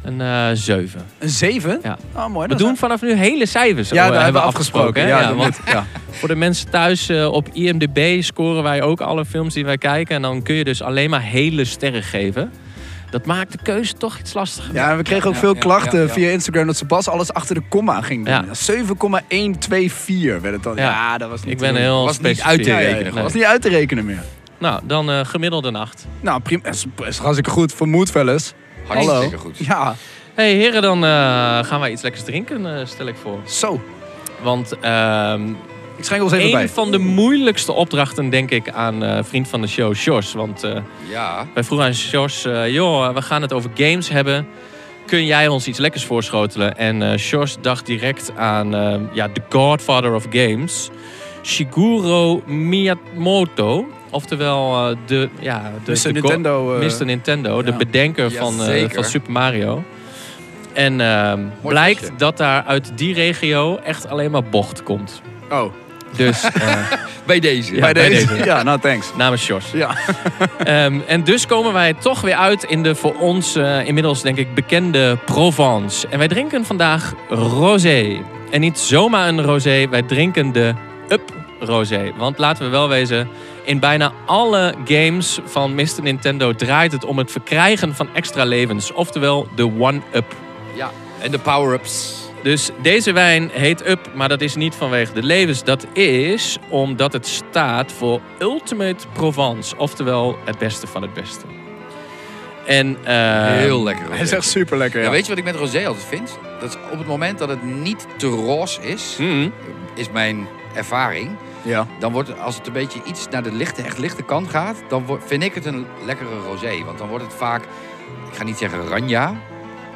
Speaker 3: Een eh 7.
Speaker 4: Een 7?
Speaker 3: Ja.
Speaker 4: Ah, mooi.
Speaker 3: We
Speaker 4: dat
Speaker 3: doen
Speaker 4: zijn-
Speaker 3: vanaf nu hele cijfers.
Speaker 4: Ja,
Speaker 3: eh,
Speaker 4: daar hebben we afgesproken.
Speaker 3: hè?
Speaker 4: Ja,
Speaker 3: Ja,
Speaker 4: doen we
Speaker 3: want
Speaker 4: het. ja.
Speaker 3: voor de mensen thuis eh, op IMDb scoren wij ook alle films die wij kijken. En dan kun je dus alleen maar hele sterren geven. Dat maakt de keuze toch iets lastiger.
Speaker 4: Ja, en we kregen ook
Speaker 5: Ja,
Speaker 4: veel
Speaker 5: ja,
Speaker 4: klachten
Speaker 5: ja, ja.
Speaker 4: via Instagram dat Sebas alles achter de komma ging doen.
Speaker 3: Ja.
Speaker 4: 7,124 werd het dan. Ja.
Speaker 3: Ja.
Speaker 4: dat was niet
Speaker 3: Ik
Speaker 4: te
Speaker 3: ben
Speaker 4: doen.
Speaker 3: heel
Speaker 5: Was niet
Speaker 3: specifiek.
Speaker 5: uit te
Speaker 3: Nee,
Speaker 5: rekenen,
Speaker 3: nee.
Speaker 4: Dat was niet uit te rekenen meer.
Speaker 3: Nou, dan eh gemiddeld een 8.
Speaker 4: Nou, prima. Is, is hartstikke goed voor moedfellas. Hallo.
Speaker 5: Hartstikke goed.
Speaker 4: Ja,
Speaker 3: hey, heren, dan eh, gaan wij iets lekkers drinken, eh, stel ik voor.
Speaker 4: zo.
Speaker 3: Want ehm,
Speaker 4: Ik schenk ons even bij.
Speaker 3: een van de moeilijkste opdrachten, denk ik, aan eh, vriend van de show, Sjors. Want eh,
Speaker 5: Ja.
Speaker 3: wij vroegen aan Sjors, eh, joh, we gaan het over games hebben. Kun jij ons iets lekkers voorschotelen? En eh Sjors dacht direct aan eh, ja, de godfather of games, Shiguro Miyamoto. Oftewel eh, de, ja, de,
Speaker 4: Mr.
Speaker 3: de go-
Speaker 4: Nintendo. eh,
Speaker 3: Mr. Nintendo, de
Speaker 4: ja.
Speaker 3: bedenker
Speaker 5: Ja,
Speaker 3: van, eh,
Speaker 5: zeker.
Speaker 3: van Super Mario. En ehm, blijkt
Speaker 5: vastje.
Speaker 3: dat daar uit die regio echt alleen maar bocht komt.
Speaker 4: Oh,
Speaker 3: Dus eh,
Speaker 5: Bij deze.
Speaker 3: Ja.
Speaker 4: bij,
Speaker 3: bij
Speaker 4: deze.
Speaker 3: deze.
Speaker 4: Ja, nou thanks.
Speaker 3: namens Sjors.
Speaker 4: Ja.
Speaker 3: Ehm, en dus komen wij toch weer uit in de voor ons eh, inmiddels denk ik bekende Provence. En wij drinken vandaag rosé. En niet zomaar een rosé, wij drinken de Up Rosé. Want laten we wel wezen, in bijna alle games van Mr. Nintendo draait het om het verkrijgen van extra levens. Oftewel de one-up.
Speaker 5: Ja. En de power-ups.
Speaker 3: Dus deze wijn heet Up, maar dat is niet vanwege de levens. Dat is omdat het staat voor Ultimate Provence. Oftewel het beste van het beste. En eh,
Speaker 5: Heel lekker.
Speaker 4: Ehm, Hij
Speaker 5: rosé.
Speaker 4: is echt super lekker.
Speaker 5: ja.
Speaker 4: Ja.
Speaker 5: weet je wat ik met rosé altijd vind? Dat is op het moment dat het niet te roze is,
Speaker 3: mm,
Speaker 4: Hm.
Speaker 5: is mijn ervaring.
Speaker 4: Ja.
Speaker 5: Dan wordt het, als het een beetje iets naar de lichte, echt lichte kant gaat, dan wordt- vind ik het een lekkere rosé. Want dan wordt het vaak, ik ga niet zeggen ranja,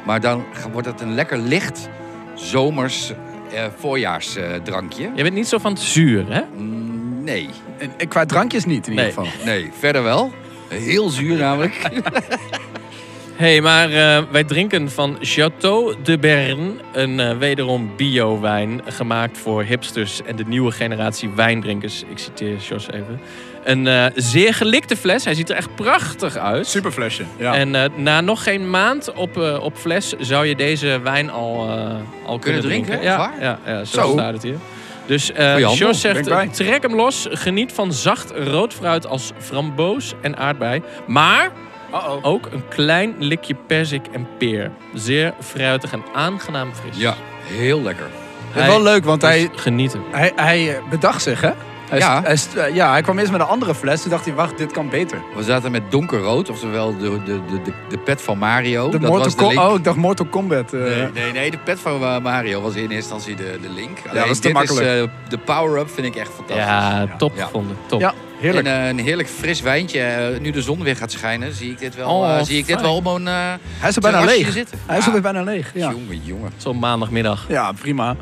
Speaker 5: maar dan ga- wordt het een lekker licht zomers eh, voorjaarsdrankje.
Speaker 3: jij bent niet zo van het zuur, hè?
Speaker 5: Mm, nee,
Speaker 4: En, en qua drankjes niet in ieder
Speaker 3: Nee.
Speaker 4: geval.
Speaker 5: nee, verder wel. Heel zuur namelijk.
Speaker 3: Hé, hey, maar eh, wij drinken van Chateau de Bern, een eh, wederom bio-wijn gemaakt voor hipsters en de nieuwe generatie wijndrinkers. Ik citeer Jos even. Een eh, zeer gelikte fles, hij ziet er echt prachtig uit.
Speaker 4: Super flesje. Ja.
Speaker 3: En eh, na nog geen maand op, eh, op fles zou je deze wijn al, eh, al kunnen,
Speaker 5: drinken,
Speaker 3: Ja,
Speaker 5: echt waar?
Speaker 3: ja, ja, zo
Speaker 5: Zo.
Speaker 3: staat het hier. Dus eh
Speaker 5: Goeie handel,
Speaker 3: Jos
Speaker 4: ben
Speaker 3: zegt,
Speaker 4: ik bij.
Speaker 3: eh, trek hem los. Geniet van zacht rood fruit als framboos en aardbei. Maar
Speaker 4: Uh-oh.
Speaker 3: ook een klein likje perzik en peer. Zeer fruitig en aangenaam fris.
Speaker 5: Ja, heel lekker.
Speaker 3: Hij
Speaker 4: wel leuk, want
Speaker 3: Dus
Speaker 4: hij,
Speaker 3: genieten.
Speaker 4: hij, hij eh, bedacht zich, hè? Hij,
Speaker 5: Ja.
Speaker 4: hij, eh, ja, hij kwam eerst met een andere fles. Toen dacht hij, wacht, dit kan beter.
Speaker 5: We zaten met donkerrood, oftewel de, de, de, de, de pet van Mario.
Speaker 4: De
Speaker 5: dat
Speaker 4: Mortal
Speaker 5: was de
Speaker 4: Kom-
Speaker 5: link.
Speaker 4: Oh, ik dacht Mortal Kombat. eh.
Speaker 5: Nee, nee, nee, de pet van eh, Mario was in eerste instantie de, de link. Ja,
Speaker 4: dat is te
Speaker 5: dit
Speaker 4: makkelijk.
Speaker 5: eh, de power-up vind ik echt fantastisch.
Speaker 3: Ja, top
Speaker 5: Ja.
Speaker 3: gevonden. Top.
Speaker 4: Ja, heerlijk.
Speaker 5: En eh, een heerlijk fris wijntje. Eh, nu de zon weer gaat schijnen, zie ik dit wel,
Speaker 3: Oh,
Speaker 5: eh, zie ik dit
Speaker 3: fijn.
Speaker 5: wel op een eh
Speaker 4: hij is er bijna
Speaker 5: terrasje
Speaker 4: leeg.
Speaker 5: zitten.
Speaker 4: Hij is
Speaker 5: Ja.
Speaker 4: er weer bijna leeg. Ja,
Speaker 5: Jongen, jongen.
Speaker 3: Zo'n maandagmiddag.
Speaker 4: ja prima.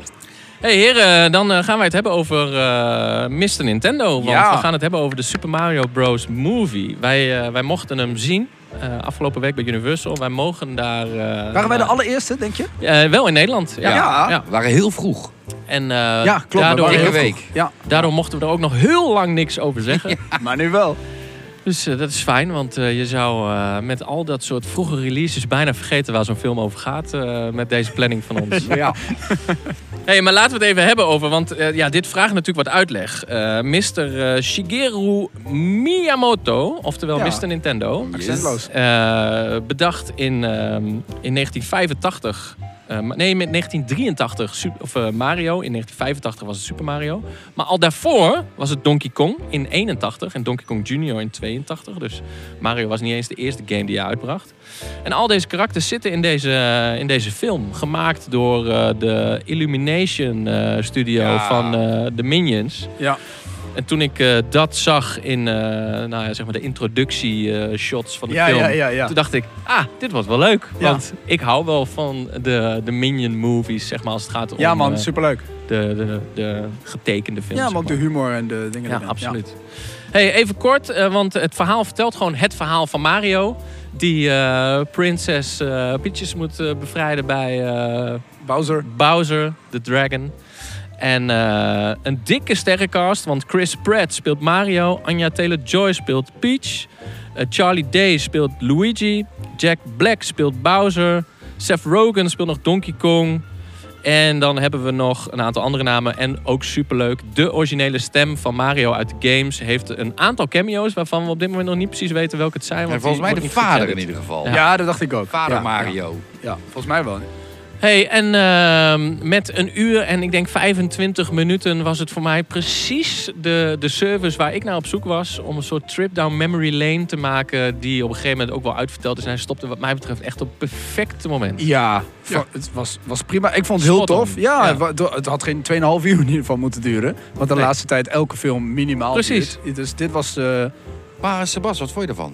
Speaker 3: hey, heren, dan eh, gaan wij het hebben over eh Mr. Nintendo. Want
Speaker 4: Ja.
Speaker 3: we gaan het hebben over de Super Mario Bros. Movie. Wij, eh, wij mochten hem zien. eh, afgelopen week bij Universal. Wij mogen daar... eh,
Speaker 4: Waren wij de
Speaker 3: naar-
Speaker 4: allereerste, denk je?
Speaker 3: Eh, wel in Nederland. Ja.
Speaker 4: Ja.
Speaker 5: We waren heel vroeg.
Speaker 3: En eh,
Speaker 4: ja, klopt. we
Speaker 3: daardoor,
Speaker 4: waren heel
Speaker 5: Dikke
Speaker 4: vroeg.
Speaker 5: week.
Speaker 4: Ja,
Speaker 3: daardoor mochten we er ook nog heel lang niks over zeggen.
Speaker 4: maar nu wel.
Speaker 3: Dus eh, dat is fijn, want eh, je zou eh, met al dat soort vroege releases bijna vergeten waar zo'n film over gaat eh, met deze planning van ons.
Speaker 4: Ja.
Speaker 3: hey, maar laten we het even hebben over, want eh, ja, dit vraagt natuurlijk wat uitleg. Eh Mr. eh, Shigeru Miyamoto, oftewel
Speaker 4: Ja.
Speaker 3: Mr. Nintendo,
Speaker 4: Accentloos.
Speaker 3: eh, bedacht in, ehm, in 1985. eh, ma- nee, met 1983 Sup- of, eh, Mario. In 1985 was het Super Mario. Maar al daarvoor was het Donkey Kong in 81 en Donkey Kong Jr. in 82. Dus Mario was niet eens de eerste game die hij uitbracht. En al deze karakters zitten in deze, eh, in deze film. Gemaakt door eh, de Illumination eh, studio
Speaker 5: Ja.
Speaker 3: van eh, de Minions.
Speaker 4: Ja.
Speaker 3: En toen ik eh, dat zag in eh, nou ja, zeg maar de introductie-shots van de
Speaker 4: Ja,
Speaker 3: film...
Speaker 4: ja, ja, ja.
Speaker 3: toen dacht ik, ah, dit wordt wel leuk.
Speaker 4: Ja.
Speaker 3: Want ik hou wel van de, de Minion-movies, zeg maar, als het gaat om
Speaker 4: Ja man,
Speaker 3: eh,
Speaker 4: superleuk.
Speaker 3: de, de, de getekende films.
Speaker 4: Ja,
Speaker 3: zeg
Speaker 4: maar ook de humor en de dingen.
Speaker 3: ja,
Speaker 4: erin.
Speaker 3: absoluut. Hey, even kort, eh, want het verhaal vertelt gewoon het verhaal van Mario. Die eh, prinses eh Peaches moet eh, bevrijden bij eh,
Speaker 4: Bowser.
Speaker 3: Bowser, de dragon. En eh, een dikke sterrencast, want Chris Pratt speelt Mario. Anya Taylor-Joy speelt Peach. eh, Charlie Day speelt Luigi. Jack Black speelt Bowser. Seth Rogen speelt nog Donkey Kong. En dan hebben we nog een aantal andere namen. En ook superleuk, de originele stem van Mario uit de games... heeft een aantal cameo's waarvan we op dit moment nog niet precies weten welke het zijn. want
Speaker 5: En
Speaker 3: die
Speaker 5: volgens mij
Speaker 3: wordt
Speaker 5: de
Speaker 3: niet
Speaker 5: vader in
Speaker 3: gecredit.
Speaker 5: ieder geval.
Speaker 4: Ja. dat dacht ik ook.
Speaker 5: Vader
Speaker 4: Ja,
Speaker 5: Mario.
Speaker 4: Ja, ja, volgens mij wel.
Speaker 3: Hey, en ehm, met een uur en ik denk 25 minuten was het voor mij precies de, de service waar ik naar op zoek was. Om een soort trip down memory lane te maken die op een gegeven moment ook wel uitverteld is. En hij stopte wat mij betreft echt op het perfecte moment.
Speaker 4: Ja, va- het was, was prima. Ik vond het heel
Speaker 3: Spot on.
Speaker 4: tof. Ja,
Speaker 3: Ja.
Speaker 4: wa- do- het had geen 2,5 uur in ieder geval moeten duren. Want de
Speaker 3: Nee.
Speaker 4: laatste tijd elke film minimaal
Speaker 3: Precies.
Speaker 4: duurt. Dus dit was... eh,
Speaker 5: Maar Sebas, wat vond je ervan?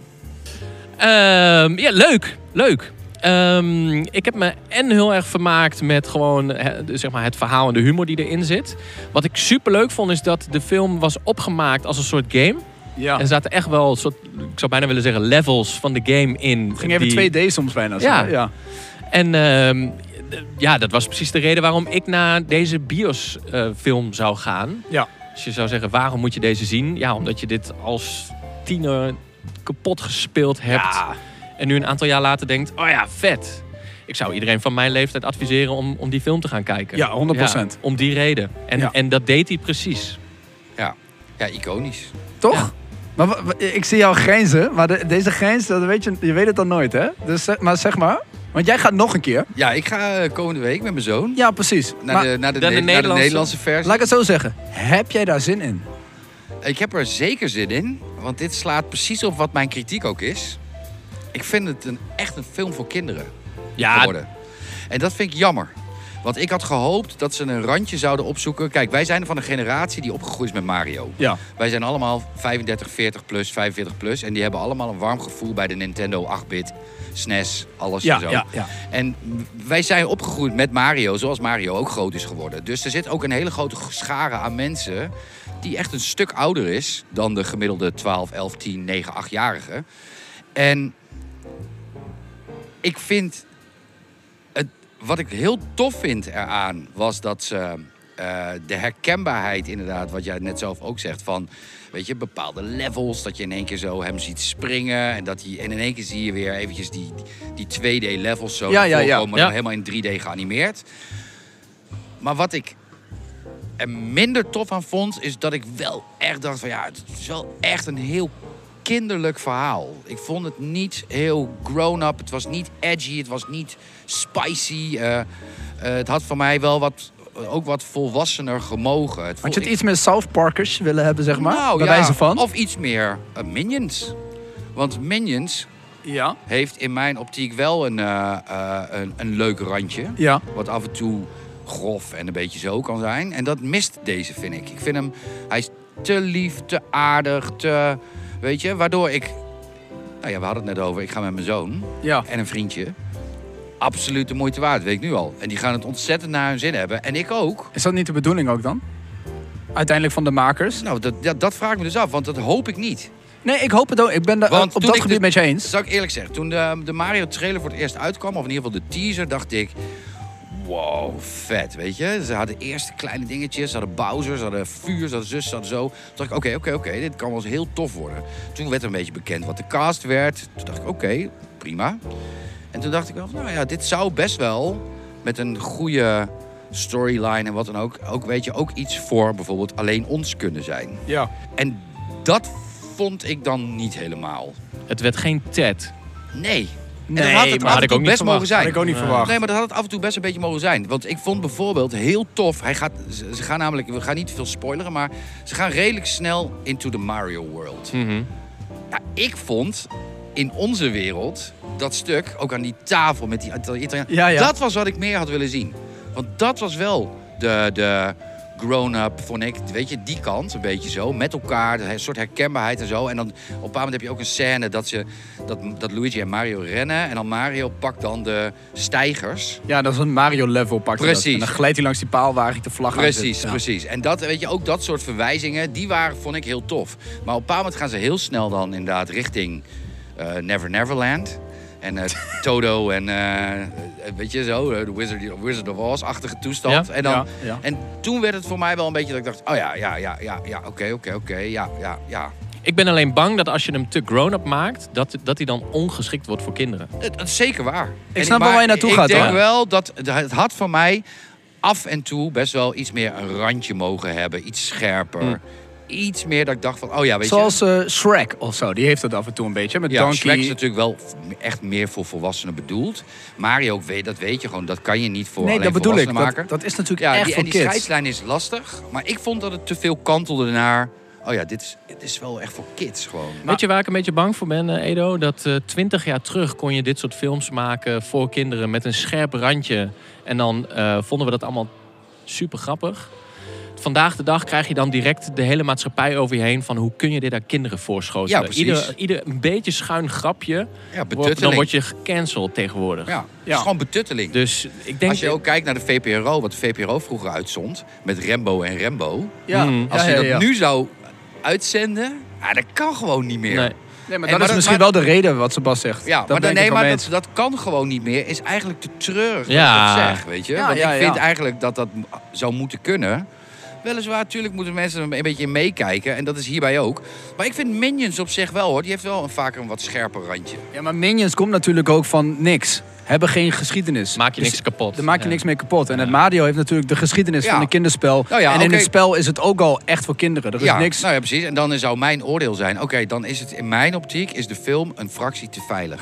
Speaker 3: Ehm, ja, leuk. Leuk. Ehm, ik heb me en heel erg vermaakt met gewoon hè, de- zeg maar het verhaal en de humor die erin zit. Wat ik super leuk vond is dat de film was opgemaakt als een soort game.
Speaker 4: ja.
Speaker 3: Er zaten echt wel, soort, ik zou bijna willen zeggen, levels van de game in.
Speaker 4: ging even
Speaker 3: die-
Speaker 4: 2D soms bijna. zo,
Speaker 3: Ja.
Speaker 4: hè? ja.
Speaker 3: En ehm, d- ja, dat was precies de reden waarom ik naar deze BIOS-film zou gaan.
Speaker 4: Ja.
Speaker 3: Dus je zou zeggen, waarom moet je deze zien? Ja, omdat je dit als tiener kapot gespeeld hebt. En nu een aantal jaar later denkt, oh ja, vet. Ik zou iedereen van mijn leeftijd adviseren om, om die film te gaan kijken.
Speaker 4: Ja, 100%.
Speaker 3: om die reden. En,
Speaker 4: Ja.
Speaker 3: en dat deed hij precies.
Speaker 5: Ja, ja iconisch.
Speaker 4: Toch?
Speaker 3: Ja.
Speaker 4: Maar wa- wa- ik zie jou grijnzen. Maar de- deze grijns, dat weet je, je weet het dan nooit, hè? Dus, zeg- maar zeg maar. Want jij gaat nog een keer.
Speaker 5: Ja, ik ga eh, komende week met mijn zoon
Speaker 4: Ja, precies.
Speaker 5: naar,
Speaker 4: maar
Speaker 5: Nou, de, naar, de,
Speaker 3: naar de
Speaker 5: ne- naar de
Speaker 3: Nederlandse-
Speaker 5: Nederlandse versie.
Speaker 4: laat ik het zo zeggen. Heb jij daar zin in?
Speaker 5: Ik heb er zeker zin in, want dit slaat precies op wat mijn kritiek ook is. Ik vind het een, echt een film voor kinderen
Speaker 3: Ah.
Speaker 5: geworden. En dat vind ik jammer. Want ik had gehoopt dat ze een randje zouden opzoeken. Kijk, wij zijn van een generatie die opgegroeid is met Mario.
Speaker 4: Ja.
Speaker 5: Wij zijn allemaal 35, 40 plus, 45 plus. En die hebben allemaal een warm gevoel bij de Nintendo 8-bit, SNES, E alles
Speaker 4: Ja,
Speaker 5: en zo.
Speaker 4: ja, ja.
Speaker 5: En wij zijn opgegroeid met Mario, zoals Mario ook groot is geworden. Dus er zit ook een hele grote schare aan mensen... die echt een stuk ouder is dan de gemiddelde 12, 11, 10, 9, 8-jarige. En ik vind... Het, wat ik heel tof vind eraan, was dat ze... eh, de herkenbaarheid inderdaad, wat jij net zelf ook zegt... van, weet je, bepaalde levels... dat je in één keer zo hem ziet springen... en, dat hij, en in één keer zie je weer eventjes die, die 2D-levels zo
Speaker 4: Ja, ja, ja.
Speaker 5: voorkomen... maar
Speaker 3: Ja.
Speaker 5: dan helemaal in 3D geanimeerd. Maar wat ik er minder tof aan vond, is dat ik wel echt dacht van ja, het is wel echt een heel kinderlijk verhaal. Ik vond het niet heel grown-up, het was niet edgy, het was niet spicy. eh, eh, het had voor mij wel wat, eh, ook wat volwassener gemogen. Het
Speaker 4: Had
Speaker 5: voel-
Speaker 4: je het
Speaker 5: ik-
Speaker 4: iets meer South Parkers willen hebben, zeg maar?
Speaker 5: Nou,
Speaker 4: bij
Speaker 5: ja,
Speaker 4: wijze van?
Speaker 5: Of iets meer eh, Minions. Want Minions
Speaker 4: Ja.
Speaker 5: heeft in mijn optiek wel een, eh, eh, een, een leuk randje.
Speaker 4: Ja.
Speaker 5: Wat af en toe grof en een beetje zo kan zijn. En dat mist deze, vind ik. Ik vind hem... Hij is te lief, te aardig, te... Weet je, waardoor ik... Nou ja, we hadden het net over. Ik ga met mijn zoon
Speaker 4: Ja.
Speaker 5: en een vriendje. Absoluut de moeite waard, weet ik nu al. En die gaan het ontzettend naar hun zin hebben. En ik ook.
Speaker 4: Is dat niet de bedoeling ook dan? Uiteindelijk van de makers?
Speaker 5: Nou, dat, dat, dat vraag ik me dus af, want dat hoop ik niet.
Speaker 4: Nee, ik hoop het ook. Ik ben daar
Speaker 5: Want
Speaker 4: op
Speaker 5: toen
Speaker 4: dat
Speaker 5: ik
Speaker 4: gebied
Speaker 5: de-
Speaker 4: met je eens.
Speaker 5: Zou ik eerlijk zeggen, toen de, de Mario trailer voor het eerst uitkwam, of in ieder geval de teaser, dacht ik. Wow, vet, weet je. Ze hadden eerst kleine dingetjes, ze hadden Bowser, ze hadden vuur, ze hadden zus, ze hadden zo. Toen dacht ik, oké, oké, oké, dit kan wel eens heel tof worden. Toen werd een beetje bekend wat de cast werd. Toen dacht ik, oké, prima. En toen dacht ik wel, van, nou ja, dit zou best wel met een goede storyline en wat dan ook, ook, weet je, ook iets voor bijvoorbeeld alleen ons kunnen zijn.
Speaker 4: Ja.
Speaker 5: En dat vond ik dan niet helemaal.
Speaker 3: Het werd geen TED.
Speaker 5: Nee.
Speaker 4: Nee,
Speaker 5: en dat had het
Speaker 3: maar
Speaker 5: af
Speaker 3: had
Speaker 5: en
Speaker 3: ik
Speaker 5: toe
Speaker 3: ook niet
Speaker 5: best
Speaker 3: verwacht.
Speaker 5: mogen zijn.
Speaker 4: Had ik ook niet verwacht.
Speaker 5: Nee, maar dat had het af en toe best een beetje mogen zijn. Want ik vond bijvoorbeeld heel tof. Hij gaat, ze ze gaan namelijk, we gaan niet veel spoileren, maar ze gaan redelijk snel into the Mario world. Ja, Nou, ik vond in onze wereld dat stuk, ook aan die tafel met die Italiaan.
Speaker 4: Ja, ja.
Speaker 5: Dat was wat ik meer had willen zien. Want dat was wel de, de, grown-up, ik, Weet je, die kant, een beetje zo. Met elkaar, een soort herkenbaarheid en zo. En dan op een bepaald moment heb je ook een scène dat, ze, dat, dat Luigi en Mario rennen. En dan Mario pakt dan de stijgers.
Speaker 4: Ja, dat is een Mario-level pak je dat.
Speaker 5: Precies.
Speaker 4: En dan glijdt hij langs die paal waar eigenlijk de vlag aan
Speaker 5: Precies,
Speaker 4: zit. Ja.
Speaker 5: precies. En dat, weet je, ook dat soort verwijzingen, die waren, vond ik heel tof. Maar op een bepaald moment gaan ze heel snel dan inderdaad richting eh, Never Neverland. En eh, Toto en eh, eh, weet je zo, eh, de Wizard, Wizard of Oz-achtige toestand.
Speaker 3: Ja,
Speaker 5: en, dan,
Speaker 4: ja, ja.
Speaker 5: en toen werd het voor mij wel een beetje dat ik dacht, oh ja, ja, ja, ja, ja, oké, oké, oké, ja, ja, ja.
Speaker 3: Ik ben alleen bang dat als je hem te grown-up maakt, dat, dat hij dan ongeschikt wordt voor kinderen.
Speaker 5: Dat, dat is zeker waar. En
Speaker 4: snap wel
Speaker 5: maar
Speaker 4: waar je naartoe gaat,
Speaker 5: Ik denk
Speaker 4: hoor.
Speaker 5: wel dat het- het had van mij af en toe best wel iets meer een randje mogen hebben. Iets scherper. Iets meer dat ik dacht van, oh ja, weet je.
Speaker 4: Hm. Zoals eh, Shrek of zo, die heeft dat af en toe een beetje. Met
Speaker 5: Ja,
Speaker 4: Donkey.
Speaker 5: Shrek is natuurlijk wel f- echt meer voor volwassenen bedoeld. Mario, ook weet- dat weet je gewoon, dat kan je niet voor
Speaker 4: nee,
Speaker 5: alleen
Speaker 4: dat bedoel ik. Dat,
Speaker 5: volwassenen maken.
Speaker 4: dat is natuurlijk
Speaker 5: ja,
Speaker 4: echt
Speaker 5: die,
Speaker 4: voor
Speaker 5: en die
Speaker 4: kids.
Speaker 5: scheidslijn is lastig. Maar ik vond dat het te veel kantelde naar... Oh ja, dit is, dit is wel echt voor kids gewoon.
Speaker 3: Weet je waar ik een beetje bang voor ben, eh, Edo? Dat twintig jaar terug kon je dit soort films maken voor kinderen met een scherp randje. En dan eh, vonden we dat allemaal super grappig. Vandaag de dag krijg je dan direct de hele maatschappij over je heen van hoe kun je dit aan kinderen voorschoten.
Speaker 5: Ja, precies.
Speaker 3: Ieder, ieder een beetje schuin grapje,
Speaker 5: Ja,
Speaker 3: wordt, dan
Speaker 5: betutteling.
Speaker 3: word je gecanceld tegenwoordig.
Speaker 5: Ja, het
Speaker 4: Ja.
Speaker 5: is gewoon betutteling.
Speaker 3: Dus ik denk
Speaker 5: Als je ook kijkt naar de VPRO, wat de VPRO vroeger uitzond... met Rembo en Rembo.
Speaker 4: Ja.
Speaker 3: Mm.
Speaker 5: Als je
Speaker 4: ja,
Speaker 5: dat
Speaker 4: ja, ja.
Speaker 5: nu zou uitzenden... Ah, dat kan gewoon niet meer.
Speaker 3: Nee.
Speaker 4: Nee, maar
Speaker 5: En
Speaker 4: dat
Speaker 5: maar
Speaker 4: is
Speaker 5: dat-
Speaker 4: misschien
Speaker 5: maar-
Speaker 4: wel de reden wat Sebas zegt.
Speaker 5: Ja,
Speaker 4: Dat
Speaker 5: maar,
Speaker 4: ben
Speaker 5: dan,
Speaker 4: ik
Speaker 5: nee,
Speaker 4: het wel
Speaker 5: maar
Speaker 4: mee
Speaker 5: dat,
Speaker 4: eens.
Speaker 5: dat kan gewoon niet meer. Is eigenlijk te treurig
Speaker 3: Ja.
Speaker 5: dat ik dat zeg, weet je.
Speaker 4: Ja,
Speaker 5: Want
Speaker 4: ja,
Speaker 5: ik vind
Speaker 4: ja.
Speaker 5: eigenlijk dat dat m- zou moeten kunnen. Weliswaar, natuurlijk moeten mensen er een beetje in meekijken. En dat is hierbij ook. Maar ik vind Minions op zich wel, hoor. Die heeft wel een, vaker een wat scherper randje.
Speaker 4: Ja, maar Minions komt natuurlijk ook van niks. Hebben geen geschiedenis.
Speaker 3: Maak je
Speaker 4: Dus
Speaker 3: niks kapot.
Speaker 4: Daar maak je
Speaker 3: Ja.
Speaker 4: niks mee kapot. En het Mario heeft natuurlijk de geschiedenis
Speaker 5: Ja.
Speaker 4: van een kinderspel.
Speaker 5: Nou ja,
Speaker 4: en in
Speaker 5: oké.
Speaker 4: het spel is het ook al echt voor kinderen. Er is
Speaker 5: ja,
Speaker 4: niks.
Speaker 5: Nou ja, precies. En dan zou mijn oordeel zijn... Oké, dan is het in mijn optiek is de film een fractie te veilig.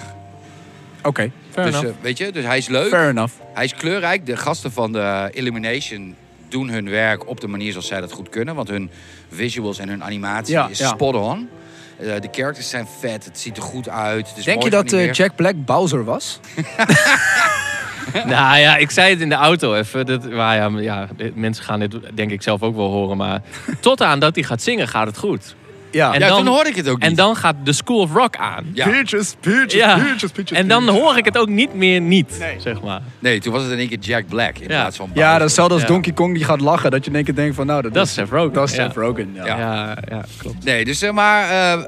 Speaker 4: Oké,
Speaker 3: Fair
Speaker 5: dus,
Speaker 3: enough.
Speaker 5: eh, weet je, dus hij is leuk.
Speaker 4: fair enough.
Speaker 5: Hij is kleurrijk. De gasten van de Illumination doen hun werk op de manier zoals zij dat goed kunnen. Want hun visuals en hun animatie
Speaker 4: Ja,
Speaker 5: is
Speaker 4: ja.
Speaker 5: spot on. Eh, de characters zijn vet, het ziet er goed uit. Het is
Speaker 4: Denk
Speaker 5: mooi
Speaker 4: je dat eh,
Speaker 5: geanimeerd.
Speaker 4: Jack Black Bowser was?
Speaker 3: Nou ja, ik zei het in de auto even. Dat, maar ja, maar ja, dit- mensen gaan dit denk ik zelf ook wel horen. Maar tot aan dat hij gaat zingen gaat het goed.
Speaker 4: Ja.
Speaker 3: En
Speaker 5: Ja,
Speaker 3: dan-
Speaker 5: toen hoorde ik het ook niet.
Speaker 3: En dan gaat de School of Rock aan.
Speaker 5: Ja.
Speaker 4: Peaches, peaches,
Speaker 3: En dan hoor ik het ook niet meer niet, zeg maar.
Speaker 5: Nee, toen was het in één keer Jack Black in
Speaker 3: Ja.
Speaker 5: plaats van
Speaker 4: Ja,
Speaker 5: Bowser.
Speaker 4: dat is hetzelfde als
Speaker 3: Ja.
Speaker 4: Donkey Kong die gaat lachen. Dat je in één keer denkt van, nou, dat,
Speaker 3: Dat is Seth Rogen.
Speaker 4: Dat is
Speaker 3: Ja.
Speaker 4: Seth Rogen, ja.
Speaker 5: Ja.
Speaker 3: Ja, ja, klopt.
Speaker 5: Nee, dus eh, maar... eh,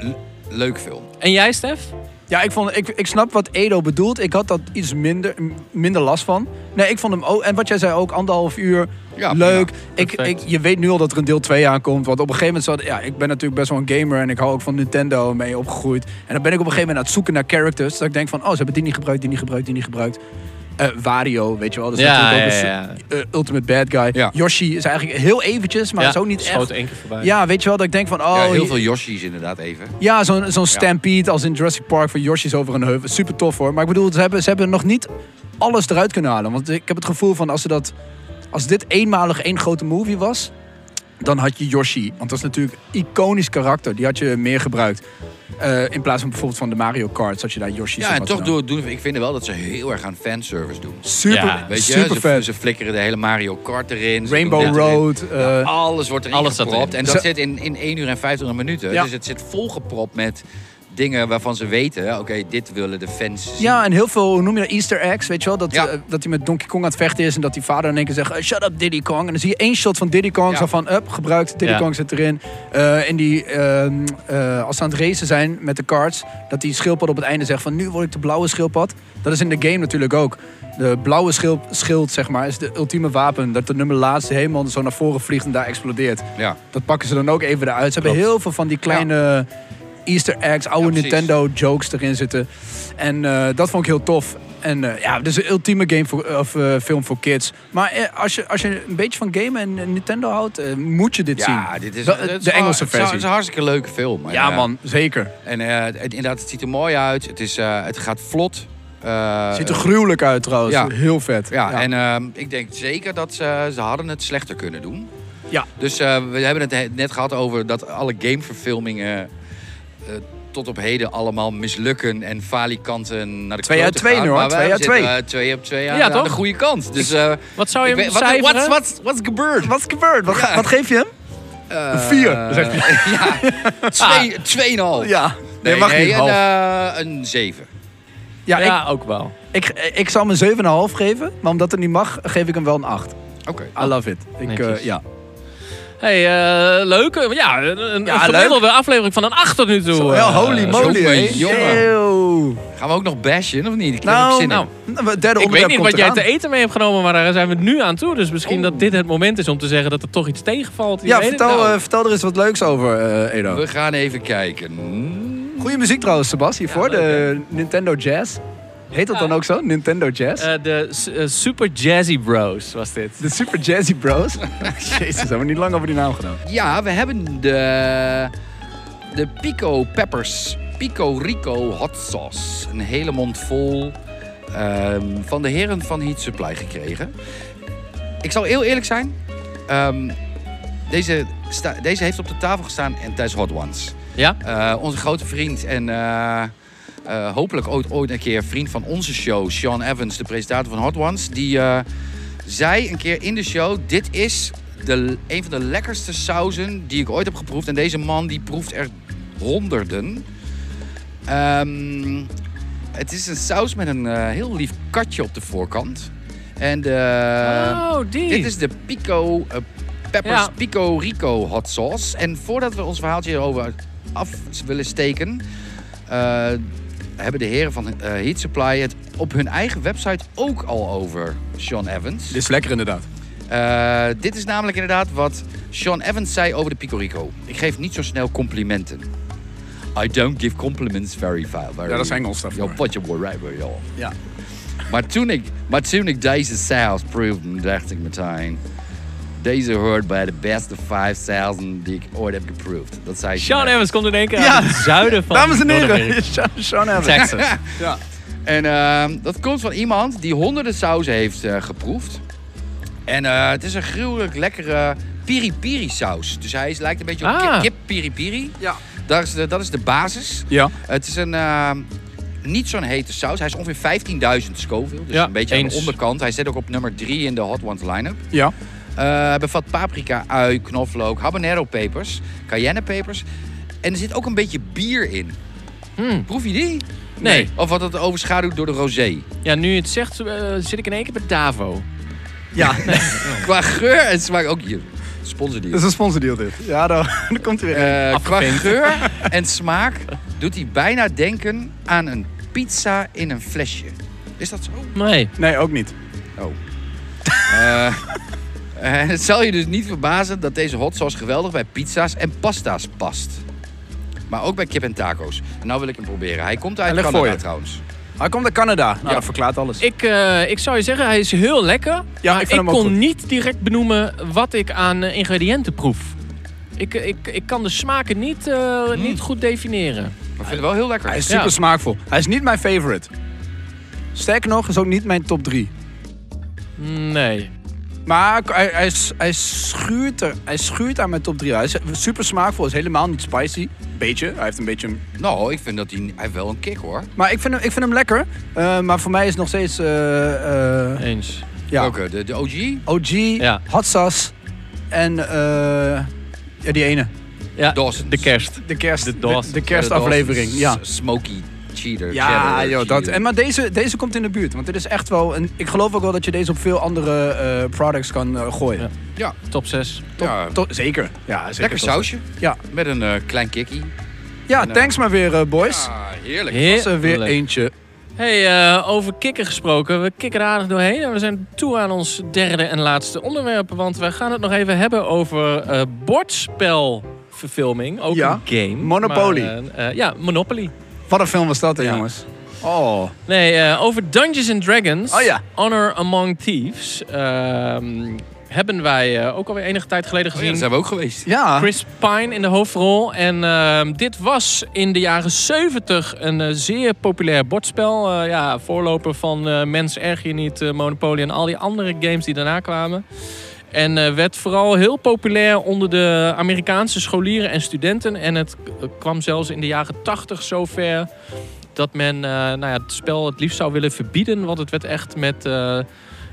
Speaker 5: le- leuk film.
Speaker 3: En jij, Stef?
Speaker 4: Ja, ik, vond, ik, ik snap wat Edo bedoelt. Ik had dat iets minder, m- minder last van. Nee, ik vond hem ook... En wat jij zei ook, anderhalf uur,
Speaker 5: Ja,
Speaker 4: leuk.
Speaker 5: prima.
Speaker 4: Ik, ik,
Speaker 3: Perfect.
Speaker 4: je weet nu al dat er een deel 2 aankomt. Want op een gegeven moment zat... Ja, ik ben natuurlijk best wel een gamer en ik hou ook van Nintendo en mee opgegroeid. En dan ben ik op een gegeven moment aan het zoeken naar characters. Dat ik denk van, oh, ze hebben die niet gebruikt, die niet gebruikt, die niet gebruikt. Eh, Wario, weet je wel. Dat is
Speaker 3: Ja,
Speaker 4: natuurlijk ook
Speaker 3: ja,
Speaker 4: een
Speaker 3: ja,
Speaker 4: su- eh, ultimate bad guy.
Speaker 5: Ja.
Speaker 4: Yoshi is eigenlijk heel eventjes, maar
Speaker 3: ja,
Speaker 4: is ook niet
Speaker 3: schoot
Speaker 4: echt...
Speaker 3: één keer voorbij.
Speaker 4: Ja, weet je wel, dat ik denk van, oh...
Speaker 5: Ja, heel
Speaker 4: je-
Speaker 5: veel Yoshi's inderdaad even.
Speaker 4: ja, zo'n zo'n stampede als in Jurassic Park van Yoshi's over een heuvel. Super tof hoor. Maar ik bedoel, ze hebben, ze hebben nog niet alles eruit kunnen halen. Want ik heb het gevoel van als, ze dat, als dit eenmalig één grote movie was, dan had je Yoshi. Want dat is natuurlijk een iconisch karakter. Die had je meer gebruikt. Eh, in plaats van bijvoorbeeld van de Mario Kart, had je daar Yoshi's
Speaker 5: Ja,
Speaker 4: en
Speaker 5: en
Speaker 4: wat
Speaker 5: toch
Speaker 4: dan
Speaker 5: doen, doen, ik vind wel dat ze heel erg aan fanservice doen.
Speaker 4: ook. Super,
Speaker 3: Ja,
Speaker 5: Weet je,
Speaker 4: super
Speaker 5: ze,
Speaker 4: vet.
Speaker 5: ze flikkeren de hele Mario Kart erin. ze
Speaker 4: Rainbow
Speaker 5: doen dit erin.
Speaker 4: Road. eh,
Speaker 5: Ja, alles wordt erin
Speaker 3: alles zat
Speaker 5: gepropt.
Speaker 3: erin.
Speaker 5: En dat
Speaker 4: Ze-
Speaker 5: zit in, in 1 uur en 25 minuten.
Speaker 4: Ja.
Speaker 5: Dus het zit volgepropt met dingen waarvan ze weten... oké, dit willen de fans zien.
Speaker 4: Ja, en heel veel, hoe noem je dat, easter eggs, weet je wel? Dat,
Speaker 5: Ja.
Speaker 4: eh, dat hij met Donkey Kong aan het vechten is en dat die vader in één keer zegt, eh, shut up Diddy Kong. En dan zie je één shot van Diddy Kong,
Speaker 5: Ja.
Speaker 4: zo van, up, gebruikt, Diddy
Speaker 3: Ja.
Speaker 4: Kong zit erin. Eh, en die, ehm, eh, als ze aan het racen zijn met de karts, dat die schildpad op het einde zegt van, nu word ik de blauwe schildpad. Dat is in de game natuurlijk ook. De blauwe schild, schild, zeg maar, is de ultieme wapen. Dat de nummer laatste helemaal zo naar voren vliegt en daar explodeert.
Speaker 5: Ja.
Speaker 4: Dat pakken ze dan ook even eruit. Ze hebben heel veel van die kleine Easter eggs,
Speaker 5: Ja,
Speaker 4: oude
Speaker 5: precies.
Speaker 4: Nintendo jokes erin zitten. En eh, dat vond ik heel tof. En eh, ja, het is een ultieme game voor, of eh, film voor kids. Maar eh, als, je, als je een beetje van gamen en eh, Nintendo houdt, eh, moet je dit
Speaker 5: Ja,
Speaker 4: zien.
Speaker 5: dit is,
Speaker 4: De-
Speaker 5: het is
Speaker 4: de
Speaker 5: wel-
Speaker 4: Engelse
Speaker 5: het is wel-
Speaker 4: versie.
Speaker 5: Het is een hartstikke leuke film. En,
Speaker 4: ja,
Speaker 5: eh,
Speaker 4: man, zeker.
Speaker 5: En eh, het- inderdaad, het ziet er mooi uit. Het, is, eh, het gaat vlot. Eh,
Speaker 4: Ziet er gruwelijk uit trouwens.
Speaker 5: ja.
Speaker 4: Heel vet.
Speaker 5: ja, en ehm, ik denk zeker dat ze, ze hadden het slechter kunnen doen.
Speaker 4: Ja.
Speaker 5: Dus eh, we hebben het he- net gehad over dat alle gameverfilmingen eh, tot op heden allemaal mislukken en falikanten naar de
Speaker 4: Twee
Speaker 5: klote
Speaker 4: uit twee
Speaker 5: gaan,
Speaker 4: nu, hoor.
Speaker 5: maar wij
Speaker 4: Twee uit
Speaker 5: zitten,
Speaker 4: twee.
Speaker 5: eh, twee op twee aan,
Speaker 3: Ja,
Speaker 5: aan
Speaker 3: toch?
Speaker 5: de goede kant. Dus eh,
Speaker 3: Wat zou je
Speaker 5: ik
Speaker 3: hem
Speaker 5: weet- wat-
Speaker 3: cijferen?
Speaker 5: what's- what's- what's gebeurd?
Speaker 4: Wat is gebeurd? Wat,
Speaker 5: Ja.
Speaker 4: wat geef je hem?
Speaker 5: Eh,
Speaker 4: Een vier, zegt
Speaker 5: ja, twee, tweeënhalf.
Speaker 4: Ja.
Speaker 5: Nee,
Speaker 4: Nee, mag
Speaker 5: nee,
Speaker 4: niet.
Speaker 5: Een,
Speaker 4: half.
Speaker 5: eh, een zeven.
Speaker 4: ja,
Speaker 3: ja,
Speaker 4: ik,
Speaker 3: ook wel.
Speaker 4: ik, ik zal hem een 7,5 geven. Maar omdat het niet mag, geef ik hem wel een 8.
Speaker 5: Oké.
Speaker 4: I love it. Ik,
Speaker 3: Netjes.
Speaker 4: eh, ja.
Speaker 3: Hey, eh, leuk. Eh, Ja, een, een
Speaker 4: Ja,
Speaker 3: gemiddelde aflevering van een acht tot nu toe.
Speaker 4: Zo,
Speaker 3: eh,
Speaker 4: ja, holy
Speaker 3: zo.
Speaker 4: moly.
Speaker 5: Oh, jongen,
Speaker 4: hè?
Speaker 5: jongen.
Speaker 4: Eeuw.
Speaker 5: Gaan we ook nog bashen of niet? Ik heb er
Speaker 4: Nou,
Speaker 5: zin in.
Speaker 4: nou, het derde
Speaker 3: Ik weet
Speaker 4: onderwerp
Speaker 3: niet
Speaker 4: komt
Speaker 3: wat jij
Speaker 4: eraan.
Speaker 3: te eten mee hebt genomen, maar daar zijn we nu aan toe. Dus misschien dat dit het moment is om te zeggen dat er toch iets tegenvalt. Je
Speaker 4: Ja,
Speaker 3: weet het
Speaker 4: vertel,
Speaker 3: nou.
Speaker 4: eh, vertel er eens wat leuks over, eh, Edo.
Speaker 5: We gaan even kijken.
Speaker 4: Goeie muziek trouwens, Sebas, hiervoor.
Speaker 3: Ja, leuk,
Speaker 4: de Nintendo Jazz. Heet dat dan ook zo? Nintendo Jazz?
Speaker 3: Eh, de s- eh, Super Jazzy Bros was dit.
Speaker 4: de Super Jazzy Bros. Jezus, hebben we niet lang over die naam gedaan.
Speaker 5: Ja, we hebben de, de Pico Peppers. Pico Rico Hot Sauce. Een hele mond vol ehm, van de heren van Heat Supply gekregen. Ik zal heel eerlijk zijn. ehm, deze, sta- deze heeft op de tafel gestaan en tijdens Hot Ones.
Speaker 3: Ja?
Speaker 5: Eh, onze grote vriend en eh, eh, hopelijk ooit, ooit een keer vriend van onze show, Sean Evans, de presentator van Hot Ones, die eh, zei een keer in de show: Dit is de, een van de lekkerste sauzen die ik ooit heb geproefd. En deze man die proeft er honderden. Ehm, het is een saus met een eh, heel lief katje op de voorkant. En eh,
Speaker 3: oh, die.
Speaker 5: dit is de Pico eh, Peppers
Speaker 3: Ja.
Speaker 5: Pico Rico hot sauce. En voordat we ons verhaaltje hierover af willen steken, eh, hebben de heren van eh, Heat Supply het op hun eigen website ook al over Sean Evans.
Speaker 4: is lekker inderdaad.
Speaker 5: Eh, dit is namelijk inderdaad wat Sean Evans zei over de Pico Rico. Ik geef niet zo snel complimenten. I don't give compliments very far. Very
Speaker 4: Ja, dat is Engels daarvoor.
Speaker 5: Yo, potje boy, right, where y'all.
Speaker 4: Ja.
Speaker 5: Maar toen ik, maar toen ik deze saus proefde, dacht ik meteen... Deze hoort bij de beste 5000 die ik ooit heb geproefd. Dat zei
Speaker 3: Sean
Speaker 5: net.
Speaker 3: Evans komt in één keer
Speaker 4: Ja.
Speaker 3: uit het zuiden van
Speaker 4: Dames en heren,
Speaker 3: Noord-Amerika.
Speaker 4: Sean Evans.
Speaker 3: Texas.
Speaker 4: Ja.
Speaker 5: En ehm, dat komt van iemand die honderden sauzen heeft eh, geproefd. En eh, het is een gruwelijk lekkere piri-piri saus. Dus hij is, lijkt een beetje op
Speaker 3: Ah.
Speaker 5: ki- kip piri-piri.
Speaker 4: Ja.
Speaker 5: Dat is de, dat is de basis.
Speaker 4: Ja.
Speaker 5: Het is een ehm, niet zo'n hete saus. Hij is ongeveer 15.000 Scoville. Dus
Speaker 3: Ja,
Speaker 5: een beetje aan
Speaker 3: eens.
Speaker 5: de onderkant. Hij zit ook op nummer 3 in de Hot Ones line-up.
Speaker 4: Ja.
Speaker 5: Eh, hij bevat paprika, ui, knoflook, habanero pepers, cayenne pepers. En er zit ook een beetje bier in.
Speaker 3: Hmm.
Speaker 5: Proef je die?
Speaker 3: Nee.
Speaker 5: Of wordt dat overschaduwd door de rosé?
Speaker 3: Ja, nu je het zegt, eh, zit ik in één keer bij Davo.
Speaker 4: Ja, dat
Speaker 5: Qua geur en smaak ook hier. Sponsor die.
Speaker 4: is een sponsordeal dit. Ja, dan, dan komt hij weer.
Speaker 5: Eh, qua
Speaker 3: afgevinkt.
Speaker 5: geur en smaak doet hij bijna denken aan een pizza in een flesje. Is dat zo?
Speaker 3: Nee.
Speaker 4: nee, ook niet.
Speaker 5: Oh. Eh, eh, het zal je dus niet verbazen dat deze hot sauce geweldig bij pizza's en pasta's past. Maar ook bij kip en taco's. En nou wil ik hem proberen. Hij komt uit
Speaker 4: Hij ligt
Speaker 5: Canada
Speaker 4: voor je.
Speaker 5: trouwens.
Speaker 4: Hij komt uit Canada. Nou,
Speaker 5: Ja.
Speaker 4: dat verklaart alles.
Speaker 3: Ik, eh, ik zou je zeggen, hij is heel lekker.
Speaker 4: Ja,
Speaker 3: maar
Speaker 4: ik
Speaker 3: ik,
Speaker 4: vind hem ook
Speaker 3: kon
Speaker 4: goed.
Speaker 3: niet direct benoemen wat ik aan eh, ingrediënten proef. Ik, eh, ik, ik kan de smaken niet, eh,
Speaker 4: Hmm.
Speaker 3: niet goed definiëren.
Speaker 5: Maar ik vind het wel heel
Speaker 4: hij
Speaker 5: lekker.
Speaker 4: is super
Speaker 3: ja.
Speaker 4: smaakvol. Hij is niet mijn favorite. Sterker nog, is ook niet mijn top 3.
Speaker 3: Nee.
Speaker 4: Maar hij, hij, is- hij, schuurt er, hij schuurt aan mijn top 3. Hij is super smaakvol, is helemaal niet spicy. Beetje, hij heeft een beetje... een-
Speaker 5: Nou, ik vind dat hij, hij heeft wel een kick hoor.
Speaker 4: Maar ik vind hem, ik vind hem lekker. Eh, maar voor mij is het nog steeds... eh, eh,
Speaker 3: Eens.
Speaker 4: ja,
Speaker 5: Welke? De, de OG?
Speaker 4: OG,
Speaker 3: Ja.
Speaker 4: hot sauce en eh, ja, die ene.
Speaker 3: Ja,
Speaker 5: Dawson's.
Speaker 3: de kerst.
Speaker 4: De kerst,
Speaker 3: De
Speaker 4: de,
Speaker 3: Dawson's.
Speaker 4: de kerstaflevering.
Speaker 5: De
Speaker 4: Ja,
Speaker 5: Dawson's Smoky cheater.
Speaker 4: ja
Speaker 5: cheddar
Speaker 4: joh, dat.
Speaker 5: cheater.
Speaker 4: En, maar deze, deze komt in de buurt. Want dit is echt wel... Een, ik geloof ook wel dat je deze op veel andere eh, products kan eh, gooien.
Speaker 3: Ja.
Speaker 5: Ja,
Speaker 3: Top 6.
Speaker 4: Top-
Speaker 5: ja.
Speaker 4: to- zeker. Ja, zeker.
Speaker 5: lekker
Speaker 4: Tot-
Speaker 5: sausje.
Speaker 4: Ja,
Speaker 5: Met een eh, klein kikkie.
Speaker 4: ja
Speaker 5: En, eh,
Speaker 4: thanks maar weer, eh, boys.
Speaker 5: Ah, heerlijk.
Speaker 4: Is er weer
Speaker 3: Heerlijk.
Speaker 4: eentje.
Speaker 3: Hey, eh, over kikken gesproken. We kikken er aardig doorheen. En we zijn toe aan ons derde en laatste onderwerp. Want we gaan het nog even hebben over eh bordspelverfilming. Ook
Speaker 4: Ja.
Speaker 3: een game.
Speaker 4: Monopoly.
Speaker 3: Maar, eh, eh, ja, Monopoly.
Speaker 4: Wat een film was dat, hè,
Speaker 3: Ja.
Speaker 4: jongens? Oh.
Speaker 3: Nee, eh, over Dungeons and Dragons.
Speaker 4: Oh ja.
Speaker 3: Honor Among Thieves. ehm, hebben wij eh, ook alweer enige tijd geleden
Speaker 5: Oh ja,
Speaker 3: gezien.
Speaker 5: daar zijn we ook geweest.
Speaker 4: Ja.
Speaker 3: Chris Pine in de hoofdrol. En ehm, dit was in de jaren 70 een eh, zeer populair bordspel. Eh, ja, voorloper van eh, Mens Erg Je Niet, eh, Monopoly en al die andere games die daarna kwamen. En eh, werd vooral heel populair onder de Amerikaanse scholieren en studenten. En het eh, kwam zelfs in de jaren 80 zover dat men eh, nou ja, het spel het liefst zou willen verbieden. Want het werd echt met, eh,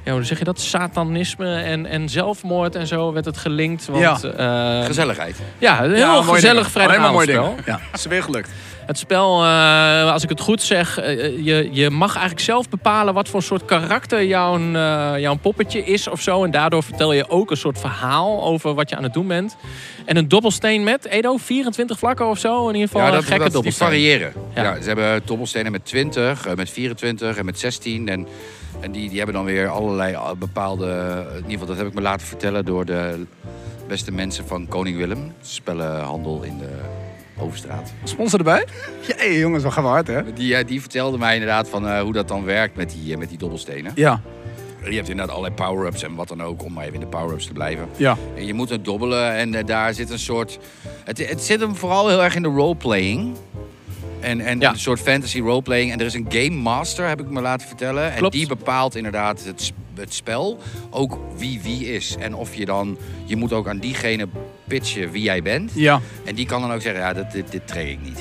Speaker 3: ja, hoe zeg je dat, satanisme en, en zelfmoord en zo werd het gelinkt. Want, eh, ja,
Speaker 5: Gezelligheid.
Speaker 4: Oh,
Speaker 3: ja een heel
Speaker 4: Ja, mooi
Speaker 3: gezellig
Speaker 4: ding. Alleen maar mooi
Speaker 3: vrijdagavondspel.
Speaker 4: ding. Ja, is weer gelukt.
Speaker 3: Het spel, eh, als ik het goed zeg, eh, eh, je, je mag eigenlijk zelf bepalen wat voor soort karakter jouw, eh, jouw poppetje is of zo. En daardoor vertel je ook een soort verhaal over wat je aan het doen bent. En een dobbelsteen met, Edo, 24 vlakken of zo. In ieder geval
Speaker 5: Ja,
Speaker 3: een
Speaker 5: dat,
Speaker 3: gekke
Speaker 5: dat, die
Speaker 3: dobbelsteen.
Speaker 5: variëren.
Speaker 3: Ja.
Speaker 5: Ja. ze hebben dobbelstenen met 20, eh, met 24 en met 16. En, en die, die hebben dan weer allerlei eh, bepaalde... In ieder geval, dat heb ik me laten vertellen door de beste mensen van Koning Willem. Spellenhandel in de Overstraat.
Speaker 4: Sponsor erbij? Ja, hey, jongens, we gaan wel hard, hè?
Speaker 5: Die, eh, die vertelde mij inderdaad van eh, hoe dat dan werkt met die, eh, met die dobbelstenen.
Speaker 4: Ja,
Speaker 5: Je hebt inderdaad allerlei power-ups en wat dan ook, om maar even in de power-ups te blijven.
Speaker 4: ja.
Speaker 5: En je moet het dobbelen en eh, daar zit een soort... Het, het zit hem vooral heel erg in de roleplaying. En, en
Speaker 3: Ja.
Speaker 5: een soort fantasy roleplaying. En er is een game master, heb ik me laten vertellen.
Speaker 3: Klopt.
Speaker 5: En die bepaalt inderdaad het, sp- het spel. Ook wie wie is. En of je dan... Je moet ook aan diegene pitchen wie jij bent.
Speaker 4: Ja,
Speaker 5: En die kan dan ook zeggen, ja, dat, dit, dit trek ik niet.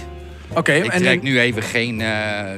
Speaker 4: oké.
Speaker 5: Ik
Speaker 4: en-
Speaker 5: trek nu even geen, eh,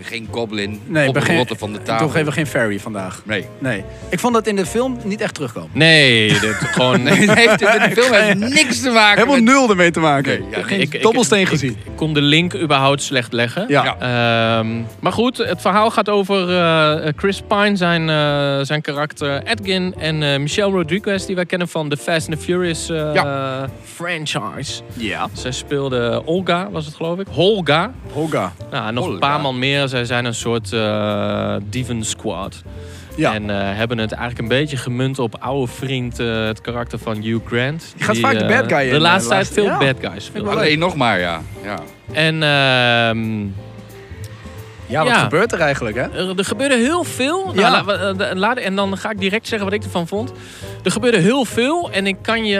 Speaker 5: geen goblin
Speaker 4: Nee,
Speaker 5: op de
Speaker 4: begin-
Speaker 5: rotte van de tafel.
Speaker 4: Toch even geen ferry vandaag.
Speaker 5: Nee.
Speaker 4: Nee. Ik vond dat in de film niet echt terugkomen.
Speaker 3: Nee, dit, gewoon...
Speaker 5: Nee, het heeft, de film heeft niks te maken
Speaker 4: Helemaal
Speaker 5: met...
Speaker 4: nul ermee te maken.
Speaker 5: Nee, ja, nee,
Speaker 4: geen
Speaker 3: ik- ik-
Speaker 4: dobbelsteen
Speaker 3: ik-
Speaker 4: gezien.
Speaker 3: Ik kon de link überhaupt slecht leggen.
Speaker 4: ja.
Speaker 5: ja.
Speaker 3: Ehm, maar goed, het verhaal gaat over eh, Chris Pine, zijn, eh, zijn karakter Edgin en eh, Michelle Rodriguez, die wij kennen van de Fast and the Furious eh, franchise.
Speaker 4: Ja.
Speaker 3: Zij speelde Olga, was het geloof ik? Holga.
Speaker 4: Holga.
Speaker 3: Nou, en nog een
Speaker 5: Holga.
Speaker 3: paar man meer. Zij zijn een soort eh dieven squad.
Speaker 4: Ja.
Speaker 3: En eh, hebben het eigenlijk een beetje gemunt op oude vriend, eh, het karakter van Hugh Grant.
Speaker 4: gaat vaak de
Speaker 3: eh,
Speaker 4: bad guy in,
Speaker 3: De
Speaker 4: eh,
Speaker 3: laatste tijd
Speaker 4: laatste-
Speaker 3: veel
Speaker 4: ja.
Speaker 3: bad guys. speelt.
Speaker 5: Alleen nog maar, ja. ja.
Speaker 3: En ehm,
Speaker 4: ja, wat
Speaker 3: Ja.
Speaker 4: gebeurt er eigenlijk, hè?
Speaker 3: Er, er gebeurde heel veel.
Speaker 4: Ja.
Speaker 3: Nou, la- la- la- la- en dan ga ik direct zeggen wat ik ervan vond. Er gebeurde heel veel. En ik kan je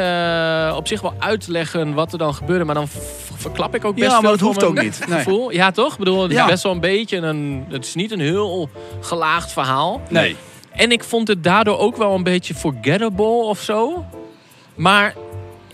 Speaker 3: eh, op zich wel uitleggen wat er dan gebeurde. Maar dan v- verklap ik ook best
Speaker 4: Ja,
Speaker 3: veel
Speaker 4: maar dat
Speaker 3: voor
Speaker 4: hoeft ook
Speaker 3: mijn
Speaker 4: niet. Nee.
Speaker 3: Gevoel. Ja, toch? Ik bedoel, het is
Speaker 4: Ja.
Speaker 3: best wel een beetje een... Het is niet een heel gelaagd verhaal.
Speaker 4: Nee.
Speaker 3: En ik vond het daardoor ook wel een beetje forgettable of zo. Maar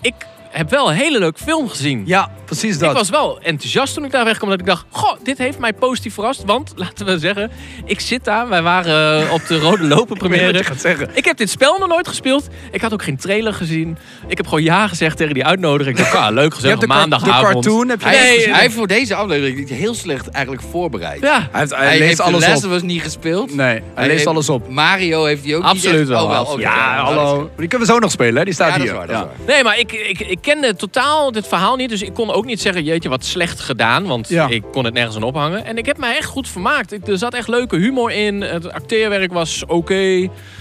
Speaker 3: ik heb wel een hele leuke film gezien.
Speaker 4: Ja, precies dat.
Speaker 3: Ik was wel enthousiast toen ik daar wegkwam. Dat ik dacht, goh, dit heeft mij positief verrast. Want, laten we zeggen, ik zit daar. Wij waren eh, op de Rode Lopen
Speaker 4: weet wat
Speaker 3: première.
Speaker 4: je gaat zeggen.
Speaker 3: Ik heb dit spel nog nooit gespeeld. Ik had ook geen trailer gezien. Ik heb gewoon ja gezegd tegen die uitnodiging. Ik dacht, ah, leuk
Speaker 4: Je hebt
Speaker 3: gezellig,
Speaker 4: de, kar- de
Speaker 3: maandagavond.
Speaker 4: cartoon, heb je
Speaker 5: Hij,
Speaker 3: Nee,
Speaker 5: heeft,
Speaker 3: eh,
Speaker 5: hij heeft voor deze aflevering niet heel slecht eigenlijk voorbereid.
Speaker 3: Ja,
Speaker 4: Hij, heeft, hij,
Speaker 5: Hij,
Speaker 4: leest
Speaker 5: heeft de
Speaker 4: alles
Speaker 5: lessen
Speaker 4: op.
Speaker 5: was niet gespeeld.
Speaker 4: Nee, hij, leest
Speaker 5: heeft-
Speaker 4: alles op.
Speaker 5: Mario heeft die ook
Speaker 3: Absoluut
Speaker 5: niet echt-
Speaker 3: wel,
Speaker 5: Oh, wel.
Speaker 3: absoluut.
Speaker 5: oké.
Speaker 4: Ja,
Speaker 5: dat
Speaker 4: hallo.
Speaker 5: is-
Speaker 4: Maar Die kunnen we zo nog spelen, hè? Die staat
Speaker 5: Ja, dat
Speaker 4: hier.
Speaker 5: is waar, dat is waar.
Speaker 3: Nee, maar ik, ik, ik kende totaal dit verhaal niet. Dus ik kon ook niet zeggen, jeetje, wat slecht gedaan. Want
Speaker 4: Ja.
Speaker 3: ik kon het nergens aan ophangen. En ik heb mij echt goed vermaakt. Ik, er zat echt leuke humor in. Het acteerwerk was oké.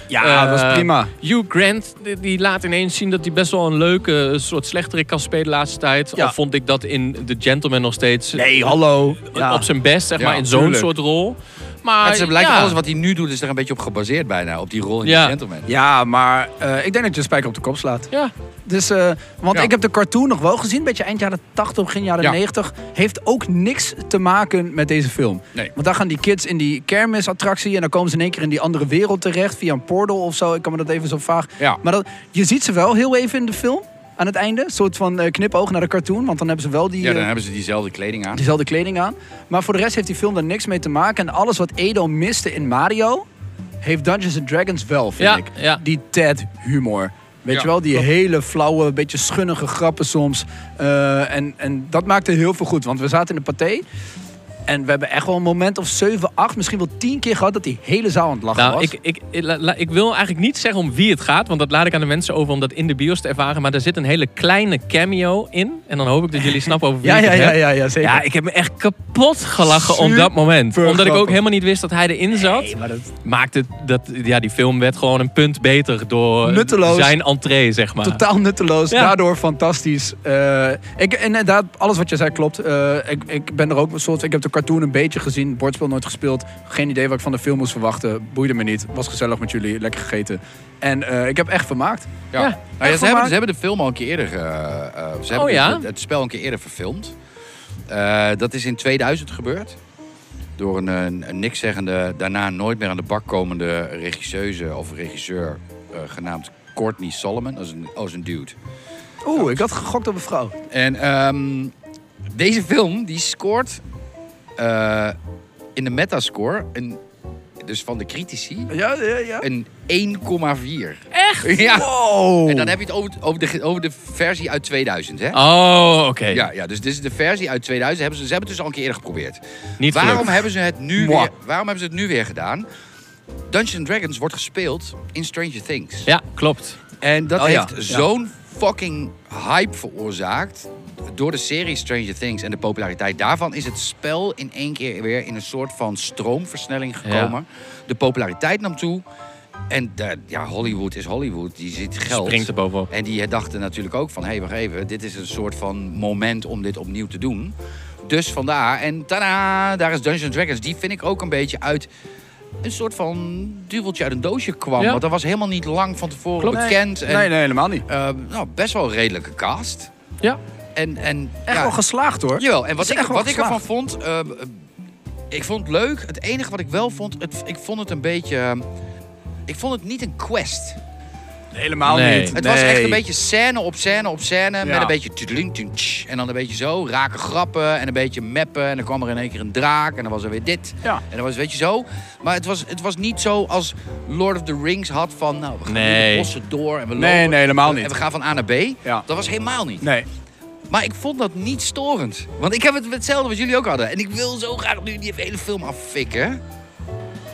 Speaker 4: Ja,
Speaker 3: Eh,
Speaker 4: dat was prima.
Speaker 3: Hugh Grant, die, die laat ineens zien dat hij best wel een leuke eh, soort slechterik kan spelen de laatste tijd.
Speaker 4: Ja.
Speaker 3: Al vond ik dat in The Gentleman nog steeds eh,
Speaker 4: Nee, hallo. Ja.
Speaker 3: op zijn best, zeg
Speaker 5: Ja,
Speaker 3: maar, in zo'n
Speaker 4: tuurlijk.
Speaker 3: soort rol. Maar
Speaker 5: Het is- lijkt
Speaker 3: Ah, ja.
Speaker 5: alles wat hij nu doet is er een beetje op gebaseerd bijna. Op die rol in
Speaker 3: Ja.
Speaker 5: The Gentleman.
Speaker 4: Ja, maar eh, ik denk dat je een spijker op de kop slaat.
Speaker 3: Ja,
Speaker 4: Dus, eh, want
Speaker 5: Ja.
Speaker 4: ik heb de cartoon nog wel gezien, beetje eind jaren 80, begin jaren
Speaker 5: Ja.
Speaker 4: 90. Heeft ook niks te maken met deze film.
Speaker 5: Nee.
Speaker 4: Want daar gaan die kids in die kermisattractie en dan komen ze in één keer in die andere wereld terecht via een portal of zo. Ik kan me dat even zo vaag.
Speaker 5: Ja.
Speaker 4: Maar dat, je ziet ze wel heel even in de film aan het einde. Een soort van eh, knipoog naar de cartoon, want dan hebben ze wel die.
Speaker 5: Ja, dan
Speaker 4: eh,
Speaker 5: hebben ze diezelfde kleding aan.
Speaker 4: diezelfde kleding aan. Maar voor de rest heeft die film daar niks mee te maken. En alles wat Edo miste in Mario, heeft Dungeons and Dragons wel, vind
Speaker 3: Ja,
Speaker 4: ik.
Speaker 3: ja.
Speaker 4: Die Ted humor. Weet
Speaker 5: Ja,
Speaker 4: je wel, die hele flauwe, beetje schunnige grappen soms. Eh, en, en dat maakte heel veel goed. Want we zaten in de paté. En we hebben echt wel een moment of 7, 8, misschien wel 10 keer gehad dat die hele zaal aan het lachen
Speaker 3: nou,
Speaker 4: was.
Speaker 3: ik, ik, ik, la- la- ik wil eigenlijk niet zeggen om wie het gaat, want dat laat ik aan de mensen over om dat in de bios te ervaren. Maar er zit een hele kleine cameo in. En dan hoop ik dat jullie snappen over wie
Speaker 4: ja,
Speaker 3: ik
Speaker 4: ja,
Speaker 3: het
Speaker 4: ja,
Speaker 3: heb.
Speaker 4: ja, ja, zeker.
Speaker 3: Ja, ik heb me echt kapot gelachen op dat moment.
Speaker 4: Super
Speaker 3: Omdat ik ook
Speaker 4: grappig.
Speaker 3: helemaal niet wist dat hij erin zat.
Speaker 4: Nee, maar dat-
Speaker 3: maakte dat, ja, die film werd gewoon een punt beter door
Speaker 4: Nutteloos.
Speaker 3: zijn entree, zeg maar.
Speaker 4: Totaal nutteloos,
Speaker 3: Ja.
Speaker 4: daardoor fantastisch. Eh, ik, inderdaad, alles wat je zei klopt. Eh, ik, ik ben er ook een soort. Ik heb de cartoon een beetje gezien, het bordspel nooit gespeeld. Geen idee wat ik van de film moest verwachten. Boeide me niet. Was gezellig met jullie, lekker gegeten. En eh, ik heb echt vermaakt.
Speaker 5: Ja.
Speaker 3: Ja,
Speaker 5: Nou ja,
Speaker 4: echt
Speaker 5: ze, hebben,
Speaker 4: vermaakt.
Speaker 5: ze hebben de film al een keer eerder. eh, eh, ze hebben
Speaker 3: Oh ja?
Speaker 5: het, het spel een keer eerder verfilmd. Eh, dat is in 2000 gebeurd. Door een, een, een nikszeggende, daarna nooit meer aan de bak komende regisseuse of regisseur eh, genaamd Courtney Solomon. Dat is een, dat is een dude.
Speaker 4: Oeh, ik had gegokt op een vrouw.
Speaker 5: En ehm, deze film die scoort eh, in de metascore, een, dus van de critici,
Speaker 4: Ja, ja, ja. Oh.
Speaker 5: een 1,4. Echt? Ja.
Speaker 4: Wow.
Speaker 5: En dan heb je het over, over, de, over de versie uit 2000, hè?
Speaker 3: Oh, oké.
Speaker 5: Ja, ja, dus dit is de versie uit 2000. Hebben ze, ze hebben het dus al een keer eerder geprobeerd.
Speaker 3: Niet
Speaker 5: waarom,
Speaker 3: gelukt.
Speaker 5: hebben ze het nu
Speaker 4: Mwah.
Speaker 5: weer, waarom hebben ze het nu weer gedaan? Dungeons and Dragons wordt gespeeld in Stranger Things.
Speaker 3: Ja, klopt.
Speaker 5: En dat
Speaker 4: Oh ja,
Speaker 5: heeft
Speaker 4: ja.
Speaker 5: zo'n fucking hype veroorzaakt. Door de serie Stranger Things en de populariteit daarvan is het spel in één keer weer in een soort van stroomversnelling gekomen. De populariteit nam toe. En daar- ja, Hollywood is Hollywood. Die ziet geld.
Speaker 3: Springt er bovenop.
Speaker 5: En die dachten natuurlijk ook van, hé, hey, wacht even, dit is een soort van moment om dit opnieuw te doen. Dus vandaar, en tadaa, daar is Dungeons Dragons. Die vind ik ook een beetje uit een soort van duveltje uit een doosje kwam.
Speaker 3: Ja.
Speaker 5: Want dat was helemaal niet lang van tevoren
Speaker 3: Klopt.
Speaker 5: bekend. En,
Speaker 4: Nee, nee, helemaal niet.
Speaker 5: eh, nou, best wel een redelijke cast.
Speaker 3: Ja.
Speaker 5: En, en,
Speaker 4: Echt wel geslaagd hoor.
Speaker 5: Jawel, en wat,
Speaker 4: Is
Speaker 5: ik,
Speaker 4: echt wel
Speaker 5: wat ik ervan
Speaker 4: geslaagd.
Speaker 5: vond... eh, eh, ik vond het leuk. Het enige wat ik wel vond, het, ik vond het een beetje... eh, ik vond het niet een quest.
Speaker 4: Helemaal
Speaker 3: Nee.
Speaker 4: niet.
Speaker 5: Het was
Speaker 4: Nee.
Speaker 5: echt een beetje scène op scène op scène. Met
Speaker 4: Ja.
Speaker 5: een beetje tudeling, tudeling, tsch, En dan een beetje zo. Raken grappen en een beetje meppen. En dan kwam er in één keer een draak. En dan was er weer dit.
Speaker 4: Ja.
Speaker 5: En dan was weet je zo. Maar het was, het was niet zo als Lord of the Rings had van... Nou, we gaan
Speaker 3: Nee.
Speaker 5: nu de bossen door en we
Speaker 4: Nee,
Speaker 5: lopen.
Speaker 4: nee, helemaal
Speaker 5: En
Speaker 4: niet.
Speaker 5: we gaan van A naar B.
Speaker 4: Ja.
Speaker 5: Dat was helemaal niet.
Speaker 4: Nee.
Speaker 5: Maar ik vond dat niet storend. Want ik heb het hetzelfde wat jullie ook hadden. En ik wil zo graag nu die hele film affikken.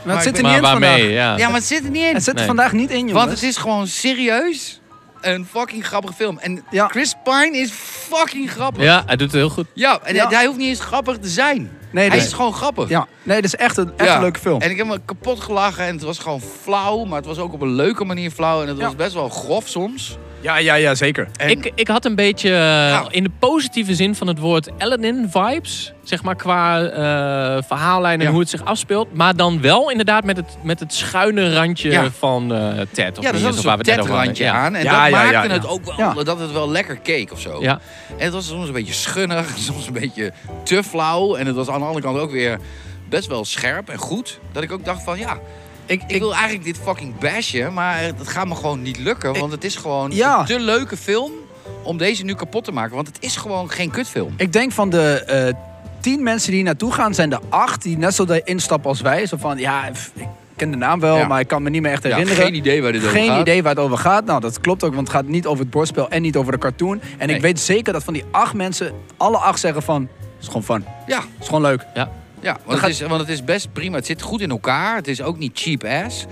Speaker 4: Maar
Speaker 5: ik
Speaker 4: het zit er
Speaker 5: ben-
Speaker 4: niet
Speaker 3: Maar
Speaker 4: in vandaag.
Speaker 3: waarmee? Ja.
Speaker 5: Ja, maar het zit er niet in.
Speaker 4: Het zit er
Speaker 3: Nee.
Speaker 4: vandaag niet in, jongens.
Speaker 5: Want het is gewoon serieus een fucking grappige film. En
Speaker 4: Ja.
Speaker 5: Chris Pine is fucking grappig.
Speaker 3: ja, hij doet het heel goed.
Speaker 5: Ja, en
Speaker 4: Ja.
Speaker 5: hij- hij hoeft niet eens grappig te zijn.
Speaker 4: Nee,
Speaker 5: hij
Speaker 4: dus-
Speaker 5: is gewoon grappig.
Speaker 4: Ja. Nee, dit is echt een, echt
Speaker 5: Ja.
Speaker 4: een leuke film.
Speaker 5: En ik heb me kapot gelachen en het was gewoon flauw. Maar het was ook op een leuke manier flauw. En het
Speaker 4: Ja.
Speaker 5: was best wel grof soms.
Speaker 4: Ja, ja, ja, zeker.
Speaker 5: En
Speaker 3: Ik, ik had een beetje, eh,
Speaker 5: Nou.
Speaker 3: in de positieve zin van het woord, Ellenin vibes. Zeg maar qua eh, verhaallijn en
Speaker 4: Ja.
Speaker 3: hoe het zich afspeelt. Maar dan wel inderdaad met het, met het schuine randje
Speaker 5: Ja.
Speaker 3: van eh Ted. Of
Speaker 5: ja, er
Speaker 3: wie is
Speaker 5: zat een
Speaker 3: of waar
Speaker 5: soort
Speaker 3: we het net over hadden.
Speaker 5: tetrandje
Speaker 3: Ja.
Speaker 5: aan. En
Speaker 4: Ja,
Speaker 5: dat
Speaker 4: ja,
Speaker 5: maakte
Speaker 4: ja, ja.
Speaker 5: het ook wel,
Speaker 4: Ja.
Speaker 5: dat het wel lekker keek of zo.
Speaker 3: Ja.
Speaker 5: En het was soms een beetje schunnig, soms een beetje te flauw. En het was aan de andere kant ook weer best wel scherp en goed. Dat ik ook dacht van, ja,
Speaker 4: Ik,
Speaker 5: ik wil eigenlijk dit fucking bashen, maar het gaat me gewoon niet lukken. Want het is gewoon
Speaker 4: Ja.
Speaker 5: een te leuke film om deze nu kapot te maken. Want het is gewoon geen kutfilm.
Speaker 4: Ik denk van de eh, tien mensen die hier naartoe gaan, zijn er acht die net zo daar instappen als wij. Zo van, ja, pff, ik ken de naam wel,
Speaker 5: Ja.
Speaker 4: maar ik kan me niet meer echt
Speaker 5: Ja,
Speaker 4: herinneren.
Speaker 5: geen idee waar dit over
Speaker 4: Geen
Speaker 5: gaat.
Speaker 4: idee waar het over gaat. Nou, dat klopt ook, want het gaat niet over het bordspel en niet over de cartoon. En
Speaker 5: Nee.
Speaker 4: ik weet zeker dat van die acht mensen, alle acht zeggen van, het is gewoon fun. Het
Speaker 5: Ja,
Speaker 4: is gewoon leuk.
Speaker 3: Ja.
Speaker 5: ja want,
Speaker 4: Dan
Speaker 5: het
Speaker 4: gaat-
Speaker 5: is, want het is best prima. Het zit goed in elkaar. Het is ook niet cheap ass.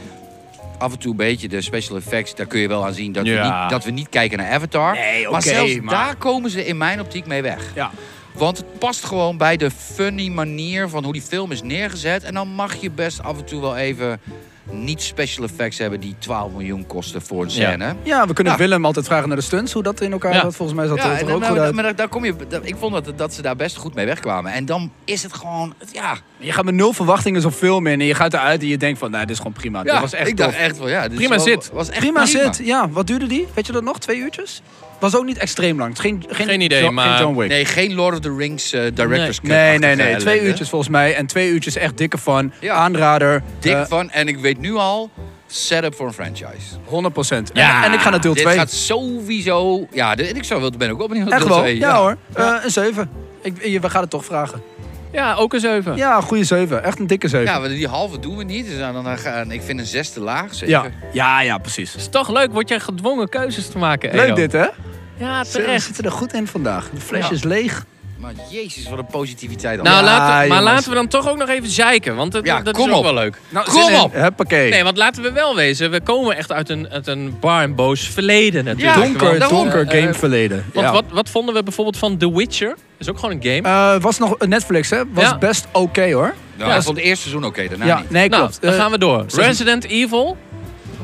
Speaker 5: Af en toe een beetje de special effects, daar kun je wel aan zien dat, we,
Speaker 3: Ja.
Speaker 5: niet, dat we niet kijken naar Avatar.
Speaker 4: Nee, oké,
Speaker 5: maar zelfs
Speaker 4: maar-
Speaker 5: daar komen ze in mijn optiek mee weg.
Speaker 4: Ja.
Speaker 5: Want het past gewoon bij de funny manier van hoe die film is neergezet. En dan mag je best af en toe wel even niet special effects hebben die 12 miljoen kosten voor een
Speaker 3: Ja.
Speaker 5: scène.
Speaker 4: Ja, we kunnen
Speaker 5: Ja.
Speaker 4: Willem altijd vragen naar de stunts, hoe dat in elkaar
Speaker 3: Ja.
Speaker 4: zat. Volgens mij zat dat
Speaker 5: en
Speaker 4: er
Speaker 5: dan-
Speaker 4: ook goed
Speaker 5: maar-
Speaker 4: uit.
Speaker 5: maar daar, daar kom je, dat- ik vond dat, dat ze daar best goed mee wegkwamen. En dan is het gewoon, ja,
Speaker 4: Je gaat met nul verwachtingen zo'n film in en je gaat eruit en je denkt van, nou, dit is gewoon prima.
Speaker 5: ja
Speaker 4: dit was echt
Speaker 5: ik dacht
Speaker 4: tof.
Speaker 5: echt wel, ja. dit is
Speaker 3: Prima
Speaker 5: wel-
Speaker 3: zit.
Speaker 5: Was echt
Speaker 4: Prima, zit, ja. Wat duurde die? Weet je dat nog? Twee uurtjes? Was ook niet extreem lang. Het is Geen, geen,
Speaker 3: Geen idee,
Speaker 4: John,
Speaker 3: maar-
Speaker 4: John Wick.
Speaker 5: Nee, geen Lord of the Rings eh, director's cut.
Speaker 4: Nee, nee,
Speaker 5: achtige
Speaker 4: nee. Twee
Speaker 5: ellende.
Speaker 4: uurtjes volgens mij. En twee uurtjes echt dikke van.
Speaker 5: Ja.
Speaker 4: Aanrader.
Speaker 5: Dik
Speaker 4: eh,
Speaker 5: van, en ik weet nu al, setup voor een franchise.
Speaker 4: 100 procent.
Speaker 3: Ja.
Speaker 4: En, en ik ga naar deel
Speaker 5: Dit
Speaker 4: 2.
Speaker 5: gaat sowieso... Ja, dit, ik zou wel, ben ook wel benieuwd naar
Speaker 4: Echt
Speaker 5: deel
Speaker 4: wel.
Speaker 5: twee,
Speaker 4: ja, hoor. Eh, een 7. Ik, je- we gaan het toch vragen.
Speaker 3: Ja, ook een 7.
Speaker 4: Ja, een goede 7. Echt een dikke 7.
Speaker 5: Ja, want die halve doen we niet. Dus dan, dan gaan, ik vind een zesde laag zeker.
Speaker 4: ja. ja, ja, precies.
Speaker 3: is toch leuk, word jij gedwongen keuzes te maken.
Speaker 4: Leuk
Speaker 3: Edo.
Speaker 4: dit, hè?
Speaker 3: Ja,
Speaker 4: We
Speaker 3: terecht.
Speaker 4: zitten er goed in vandaag. De fles
Speaker 5: Ja.
Speaker 4: is leeg.
Speaker 5: Maar jezus, wat een positiviteit. al.
Speaker 3: Nou,
Speaker 4: Ja,
Speaker 3: laten, maar
Speaker 4: jongens.
Speaker 3: laten we dan toch ook nog even zeiken, want dat,
Speaker 5: Ja,
Speaker 3: dat
Speaker 5: kom
Speaker 3: is ook
Speaker 5: op.
Speaker 3: wel leuk.
Speaker 4: Nou,
Speaker 5: Kom
Speaker 4: zin in.
Speaker 5: op.
Speaker 4: Huppakee.
Speaker 3: Nee, want laten we wel wezen, we komen echt uit een, uit een bar en boos verleden natuurlijk.
Speaker 5: Ja,
Speaker 4: donker,
Speaker 5: daarom.
Speaker 4: donker
Speaker 3: Eh,
Speaker 4: gameverleden.
Speaker 3: Want
Speaker 4: Ja.
Speaker 3: wat, wat vonden we bijvoorbeeld van The Witcher? Dat is ook gewoon een game.
Speaker 4: Eh, was nog Netflix, hè? Was
Speaker 3: Ja.
Speaker 4: best oké, hoor.
Speaker 5: Nou, ik vond het eerste seizoen oké, daarna
Speaker 4: ja,
Speaker 5: niet.
Speaker 4: nee,
Speaker 3: nou,
Speaker 4: klopt.
Speaker 3: dan
Speaker 4: Eh,
Speaker 3: gaan we door. Resident Evil,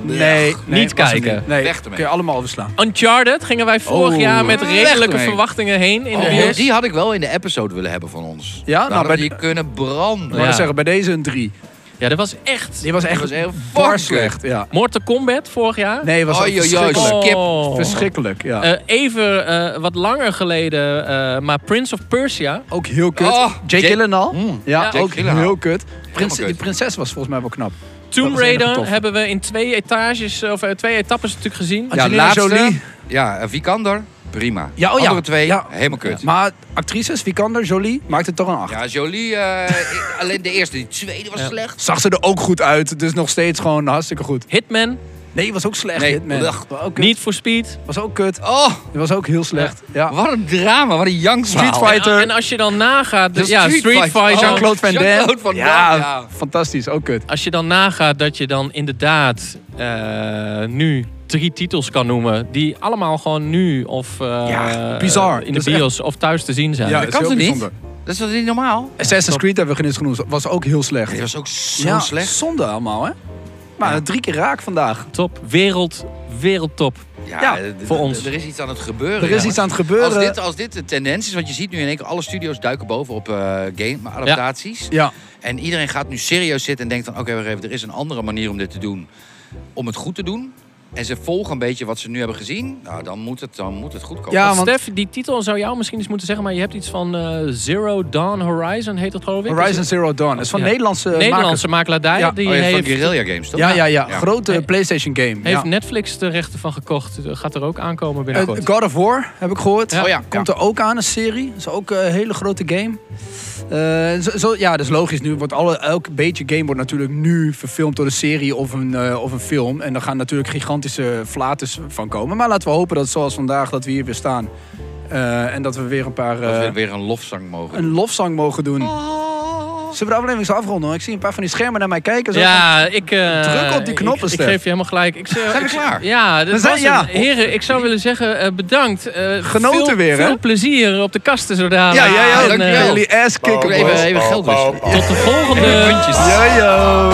Speaker 4: Nee, nee,
Speaker 3: niet
Speaker 4: was het
Speaker 3: kijken.
Speaker 4: niet. Nee,
Speaker 5: Weg ermee.
Speaker 4: kun je allemaal overslaan.
Speaker 3: Uncharted gingen wij vorig
Speaker 4: Oh.
Speaker 3: jaar met
Speaker 5: Weg
Speaker 3: redelijke
Speaker 5: ermee.
Speaker 3: verwachtingen heen in de
Speaker 5: Oh,
Speaker 3: bios.
Speaker 5: die had ik wel in de episode willen hebben van ons.
Speaker 4: Ja,
Speaker 5: Dan
Speaker 4: nou,
Speaker 5: hadden
Speaker 4: bij
Speaker 5: we die kunnen branden.
Speaker 4: Ik wou
Speaker 3: Ja.
Speaker 4: zeggen, bij deze een 3.
Speaker 3: Ja, dat was echt...
Speaker 4: Die was echt
Speaker 5: was echt
Speaker 4: bar
Speaker 5: fucking.
Speaker 4: slecht. Ja.
Speaker 3: Mortal Kombat vorig jaar.
Speaker 4: Nee, was
Speaker 5: Oei,
Speaker 4: ook
Speaker 5: oei, oei,
Speaker 4: verschrikkelijk.
Speaker 5: shit. skip.
Speaker 3: Oh.
Speaker 4: Verschrikkelijk, ja.
Speaker 3: Eh, even eh, wat langer geleden, eh, maar Prince of Persia.
Speaker 4: ook heel kut.
Speaker 5: Oh,
Speaker 4: Jake
Speaker 5: Jake- Hmm.
Speaker 4: Gyllenhaal. Ja,
Speaker 3: Jake
Speaker 4: ook
Speaker 5: Gyllenhaal.
Speaker 4: heel kut. prins,
Speaker 5: kut.
Speaker 4: die prinses was volgens mij wel knap.
Speaker 3: Tomb
Speaker 4: Dat is enige
Speaker 3: Raider
Speaker 4: tof.
Speaker 3: hebben we in twee etages, of eh, twee etappes natuurlijk gezien.
Speaker 5: Ja,
Speaker 4: Angelina
Speaker 5: laatste.
Speaker 4: Jolie.
Speaker 5: Ja, eh, Vikander, prima.
Speaker 4: Ja, oh ja.
Speaker 5: Andere twee,
Speaker 4: Ja.
Speaker 5: helemaal kut. Ja.
Speaker 4: Maar actrices, Vikander, Jolie, maakte het toch een 8.
Speaker 5: Jolie, eh, alleen de eerste. Die tweede was
Speaker 3: Ja.
Speaker 5: slecht.
Speaker 4: Zag ze er ook goed uit, dus nog steeds gewoon hartstikke goed.
Speaker 3: Hitman,
Speaker 4: Nee, was ook slecht.
Speaker 5: Nee,
Speaker 4: Hitman.
Speaker 5: ugh.
Speaker 4: was, ook kut.
Speaker 3: Need for Speed.
Speaker 4: was ook kut.
Speaker 5: Oh,
Speaker 4: Was ook heel slecht. Ja.
Speaker 5: wat een drama, wat een jankverhaal.
Speaker 4: Street Fighter.
Speaker 3: En, en als je dan nagaat,
Speaker 5: De
Speaker 3: dus, ja, Street Fighter.
Speaker 5: Oh,
Speaker 4: Jean-Claude Van Damme.
Speaker 5: Jean-Claude Van Damme,
Speaker 4: Ja,
Speaker 5: ja.
Speaker 4: fantastisch. Ook kut.
Speaker 3: Als je dan nagaat dat je dan inderdaad eh, nu drie titels kan noemen, die allemaal gewoon nu of eh,
Speaker 4: Ja, bizar.
Speaker 3: in de
Speaker 4: Dat is echt-
Speaker 3: bios of thuis te zien zijn.
Speaker 4: Ja,
Speaker 3: Ja,
Speaker 5: Dat kan
Speaker 4: heel
Speaker 5: toch niet?
Speaker 4: bijzonder.
Speaker 5: Dat is toch niet normaal?
Speaker 4: Assassin's Creed hebben we geen eens genoemd. Was ook heel slecht.
Speaker 5: Die was ook zo
Speaker 4: ja,
Speaker 5: slecht.
Speaker 4: zonde allemaal, hè? Maar drie keer raak vandaag.
Speaker 3: top. Wereld, wereldtop.
Speaker 4: Ja,
Speaker 5: eh, d-
Speaker 3: voor
Speaker 5: d-
Speaker 3: ons.
Speaker 5: Er is iets aan het gebeuren.
Speaker 4: Er is
Speaker 5: ja.
Speaker 4: iets aan het gebeuren.
Speaker 5: Als dit, als dit de tendens is, want je ziet nu in één keer alle studio's duiken boven op eh, game-adaptaties.
Speaker 4: Ja.
Speaker 5: En iedereen gaat nu serieus zitten en denkt van... oké, wacht even, er is een andere manier om dit te doen. Om het goed te doen. En ze volgen een beetje wat ze nu hebben gezien. Nou, dan moet het, dan moet het goed komen.
Speaker 4: Ja,
Speaker 3: Want
Speaker 4: want-
Speaker 3: Stef, die titel zou jou misschien eens moeten zeggen, maar je hebt iets van eh, Zero Dawn Horizon, heet dat geloof ik?
Speaker 4: Horizon Zero Dawn. Dat is van
Speaker 3: Ja.
Speaker 4: Nederlandse makers.
Speaker 3: Nederlandse makelaardij.
Speaker 4: Ja.
Speaker 3: Die
Speaker 5: Oh, je hebt
Speaker 3: heeft,
Speaker 5: van Guerrilla Games, toch?
Speaker 4: Ja, ja, ja.
Speaker 5: Ja.
Speaker 4: Grote
Speaker 3: Hey.
Speaker 4: PlayStation game.
Speaker 3: heeft
Speaker 4: ja.
Speaker 3: Netflix de rechten van gekocht. Gaat er ook aankomen
Speaker 4: Eh,
Speaker 3: binnenkort.
Speaker 4: God of War heb ik gehoord.
Speaker 5: Ja. Oh ja,
Speaker 4: Komt er ook aan, een serie. Dat is ook eh, een hele grote game. Eh, zo, zo- ja, dat is logisch. Nu wordt alle, elk beetje game wordt natuurlijk nu verfilmd door een serie of een, eh, of een film. En daar gaan natuurlijk gigantische flates van komen. Maar laten we hopen dat zoals vandaag dat we hier weer staan. Eh, en dat we weer een paar... eh,
Speaker 5: Dat we weer een lofzang mogen.
Speaker 4: een lofzang mogen doen. Zullen we de aflevering zo afronden? hoor? Ik zie een paar van die schermen naar mij kijken. Zo
Speaker 3: Ja, ik... eh,
Speaker 4: Druk op die
Speaker 3: ik-
Speaker 4: knoppen,
Speaker 3: Ik,
Speaker 4: Stef.
Speaker 3: geef je helemaal gelijk. Ik, zou-
Speaker 5: Zijn we
Speaker 3: ik-
Speaker 5: klaar?
Speaker 3: Ja,
Speaker 4: We
Speaker 3: dat
Speaker 4: zijn-
Speaker 3: was
Speaker 4: ja.
Speaker 3: hem. Heren, ik zou willen zeggen eh, bedankt. Eh,
Speaker 4: Genoten
Speaker 3: veel,
Speaker 4: weer, hè?
Speaker 3: Veel plezier op de kasten zo dadelijk.
Speaker 4: ja, ja, ja.
Speaker 3: En,
Speaker 4: dank
Speaker 3: eh,
Speaker 5: dankjewel.
Speaker 4: jullie ass
Speaker 5: Even,
Speaker 4: kicken.
Speaker 5: even geld wisselen.
Speaker 3: Tot de volgende.
Speaker 4: Ja, joh.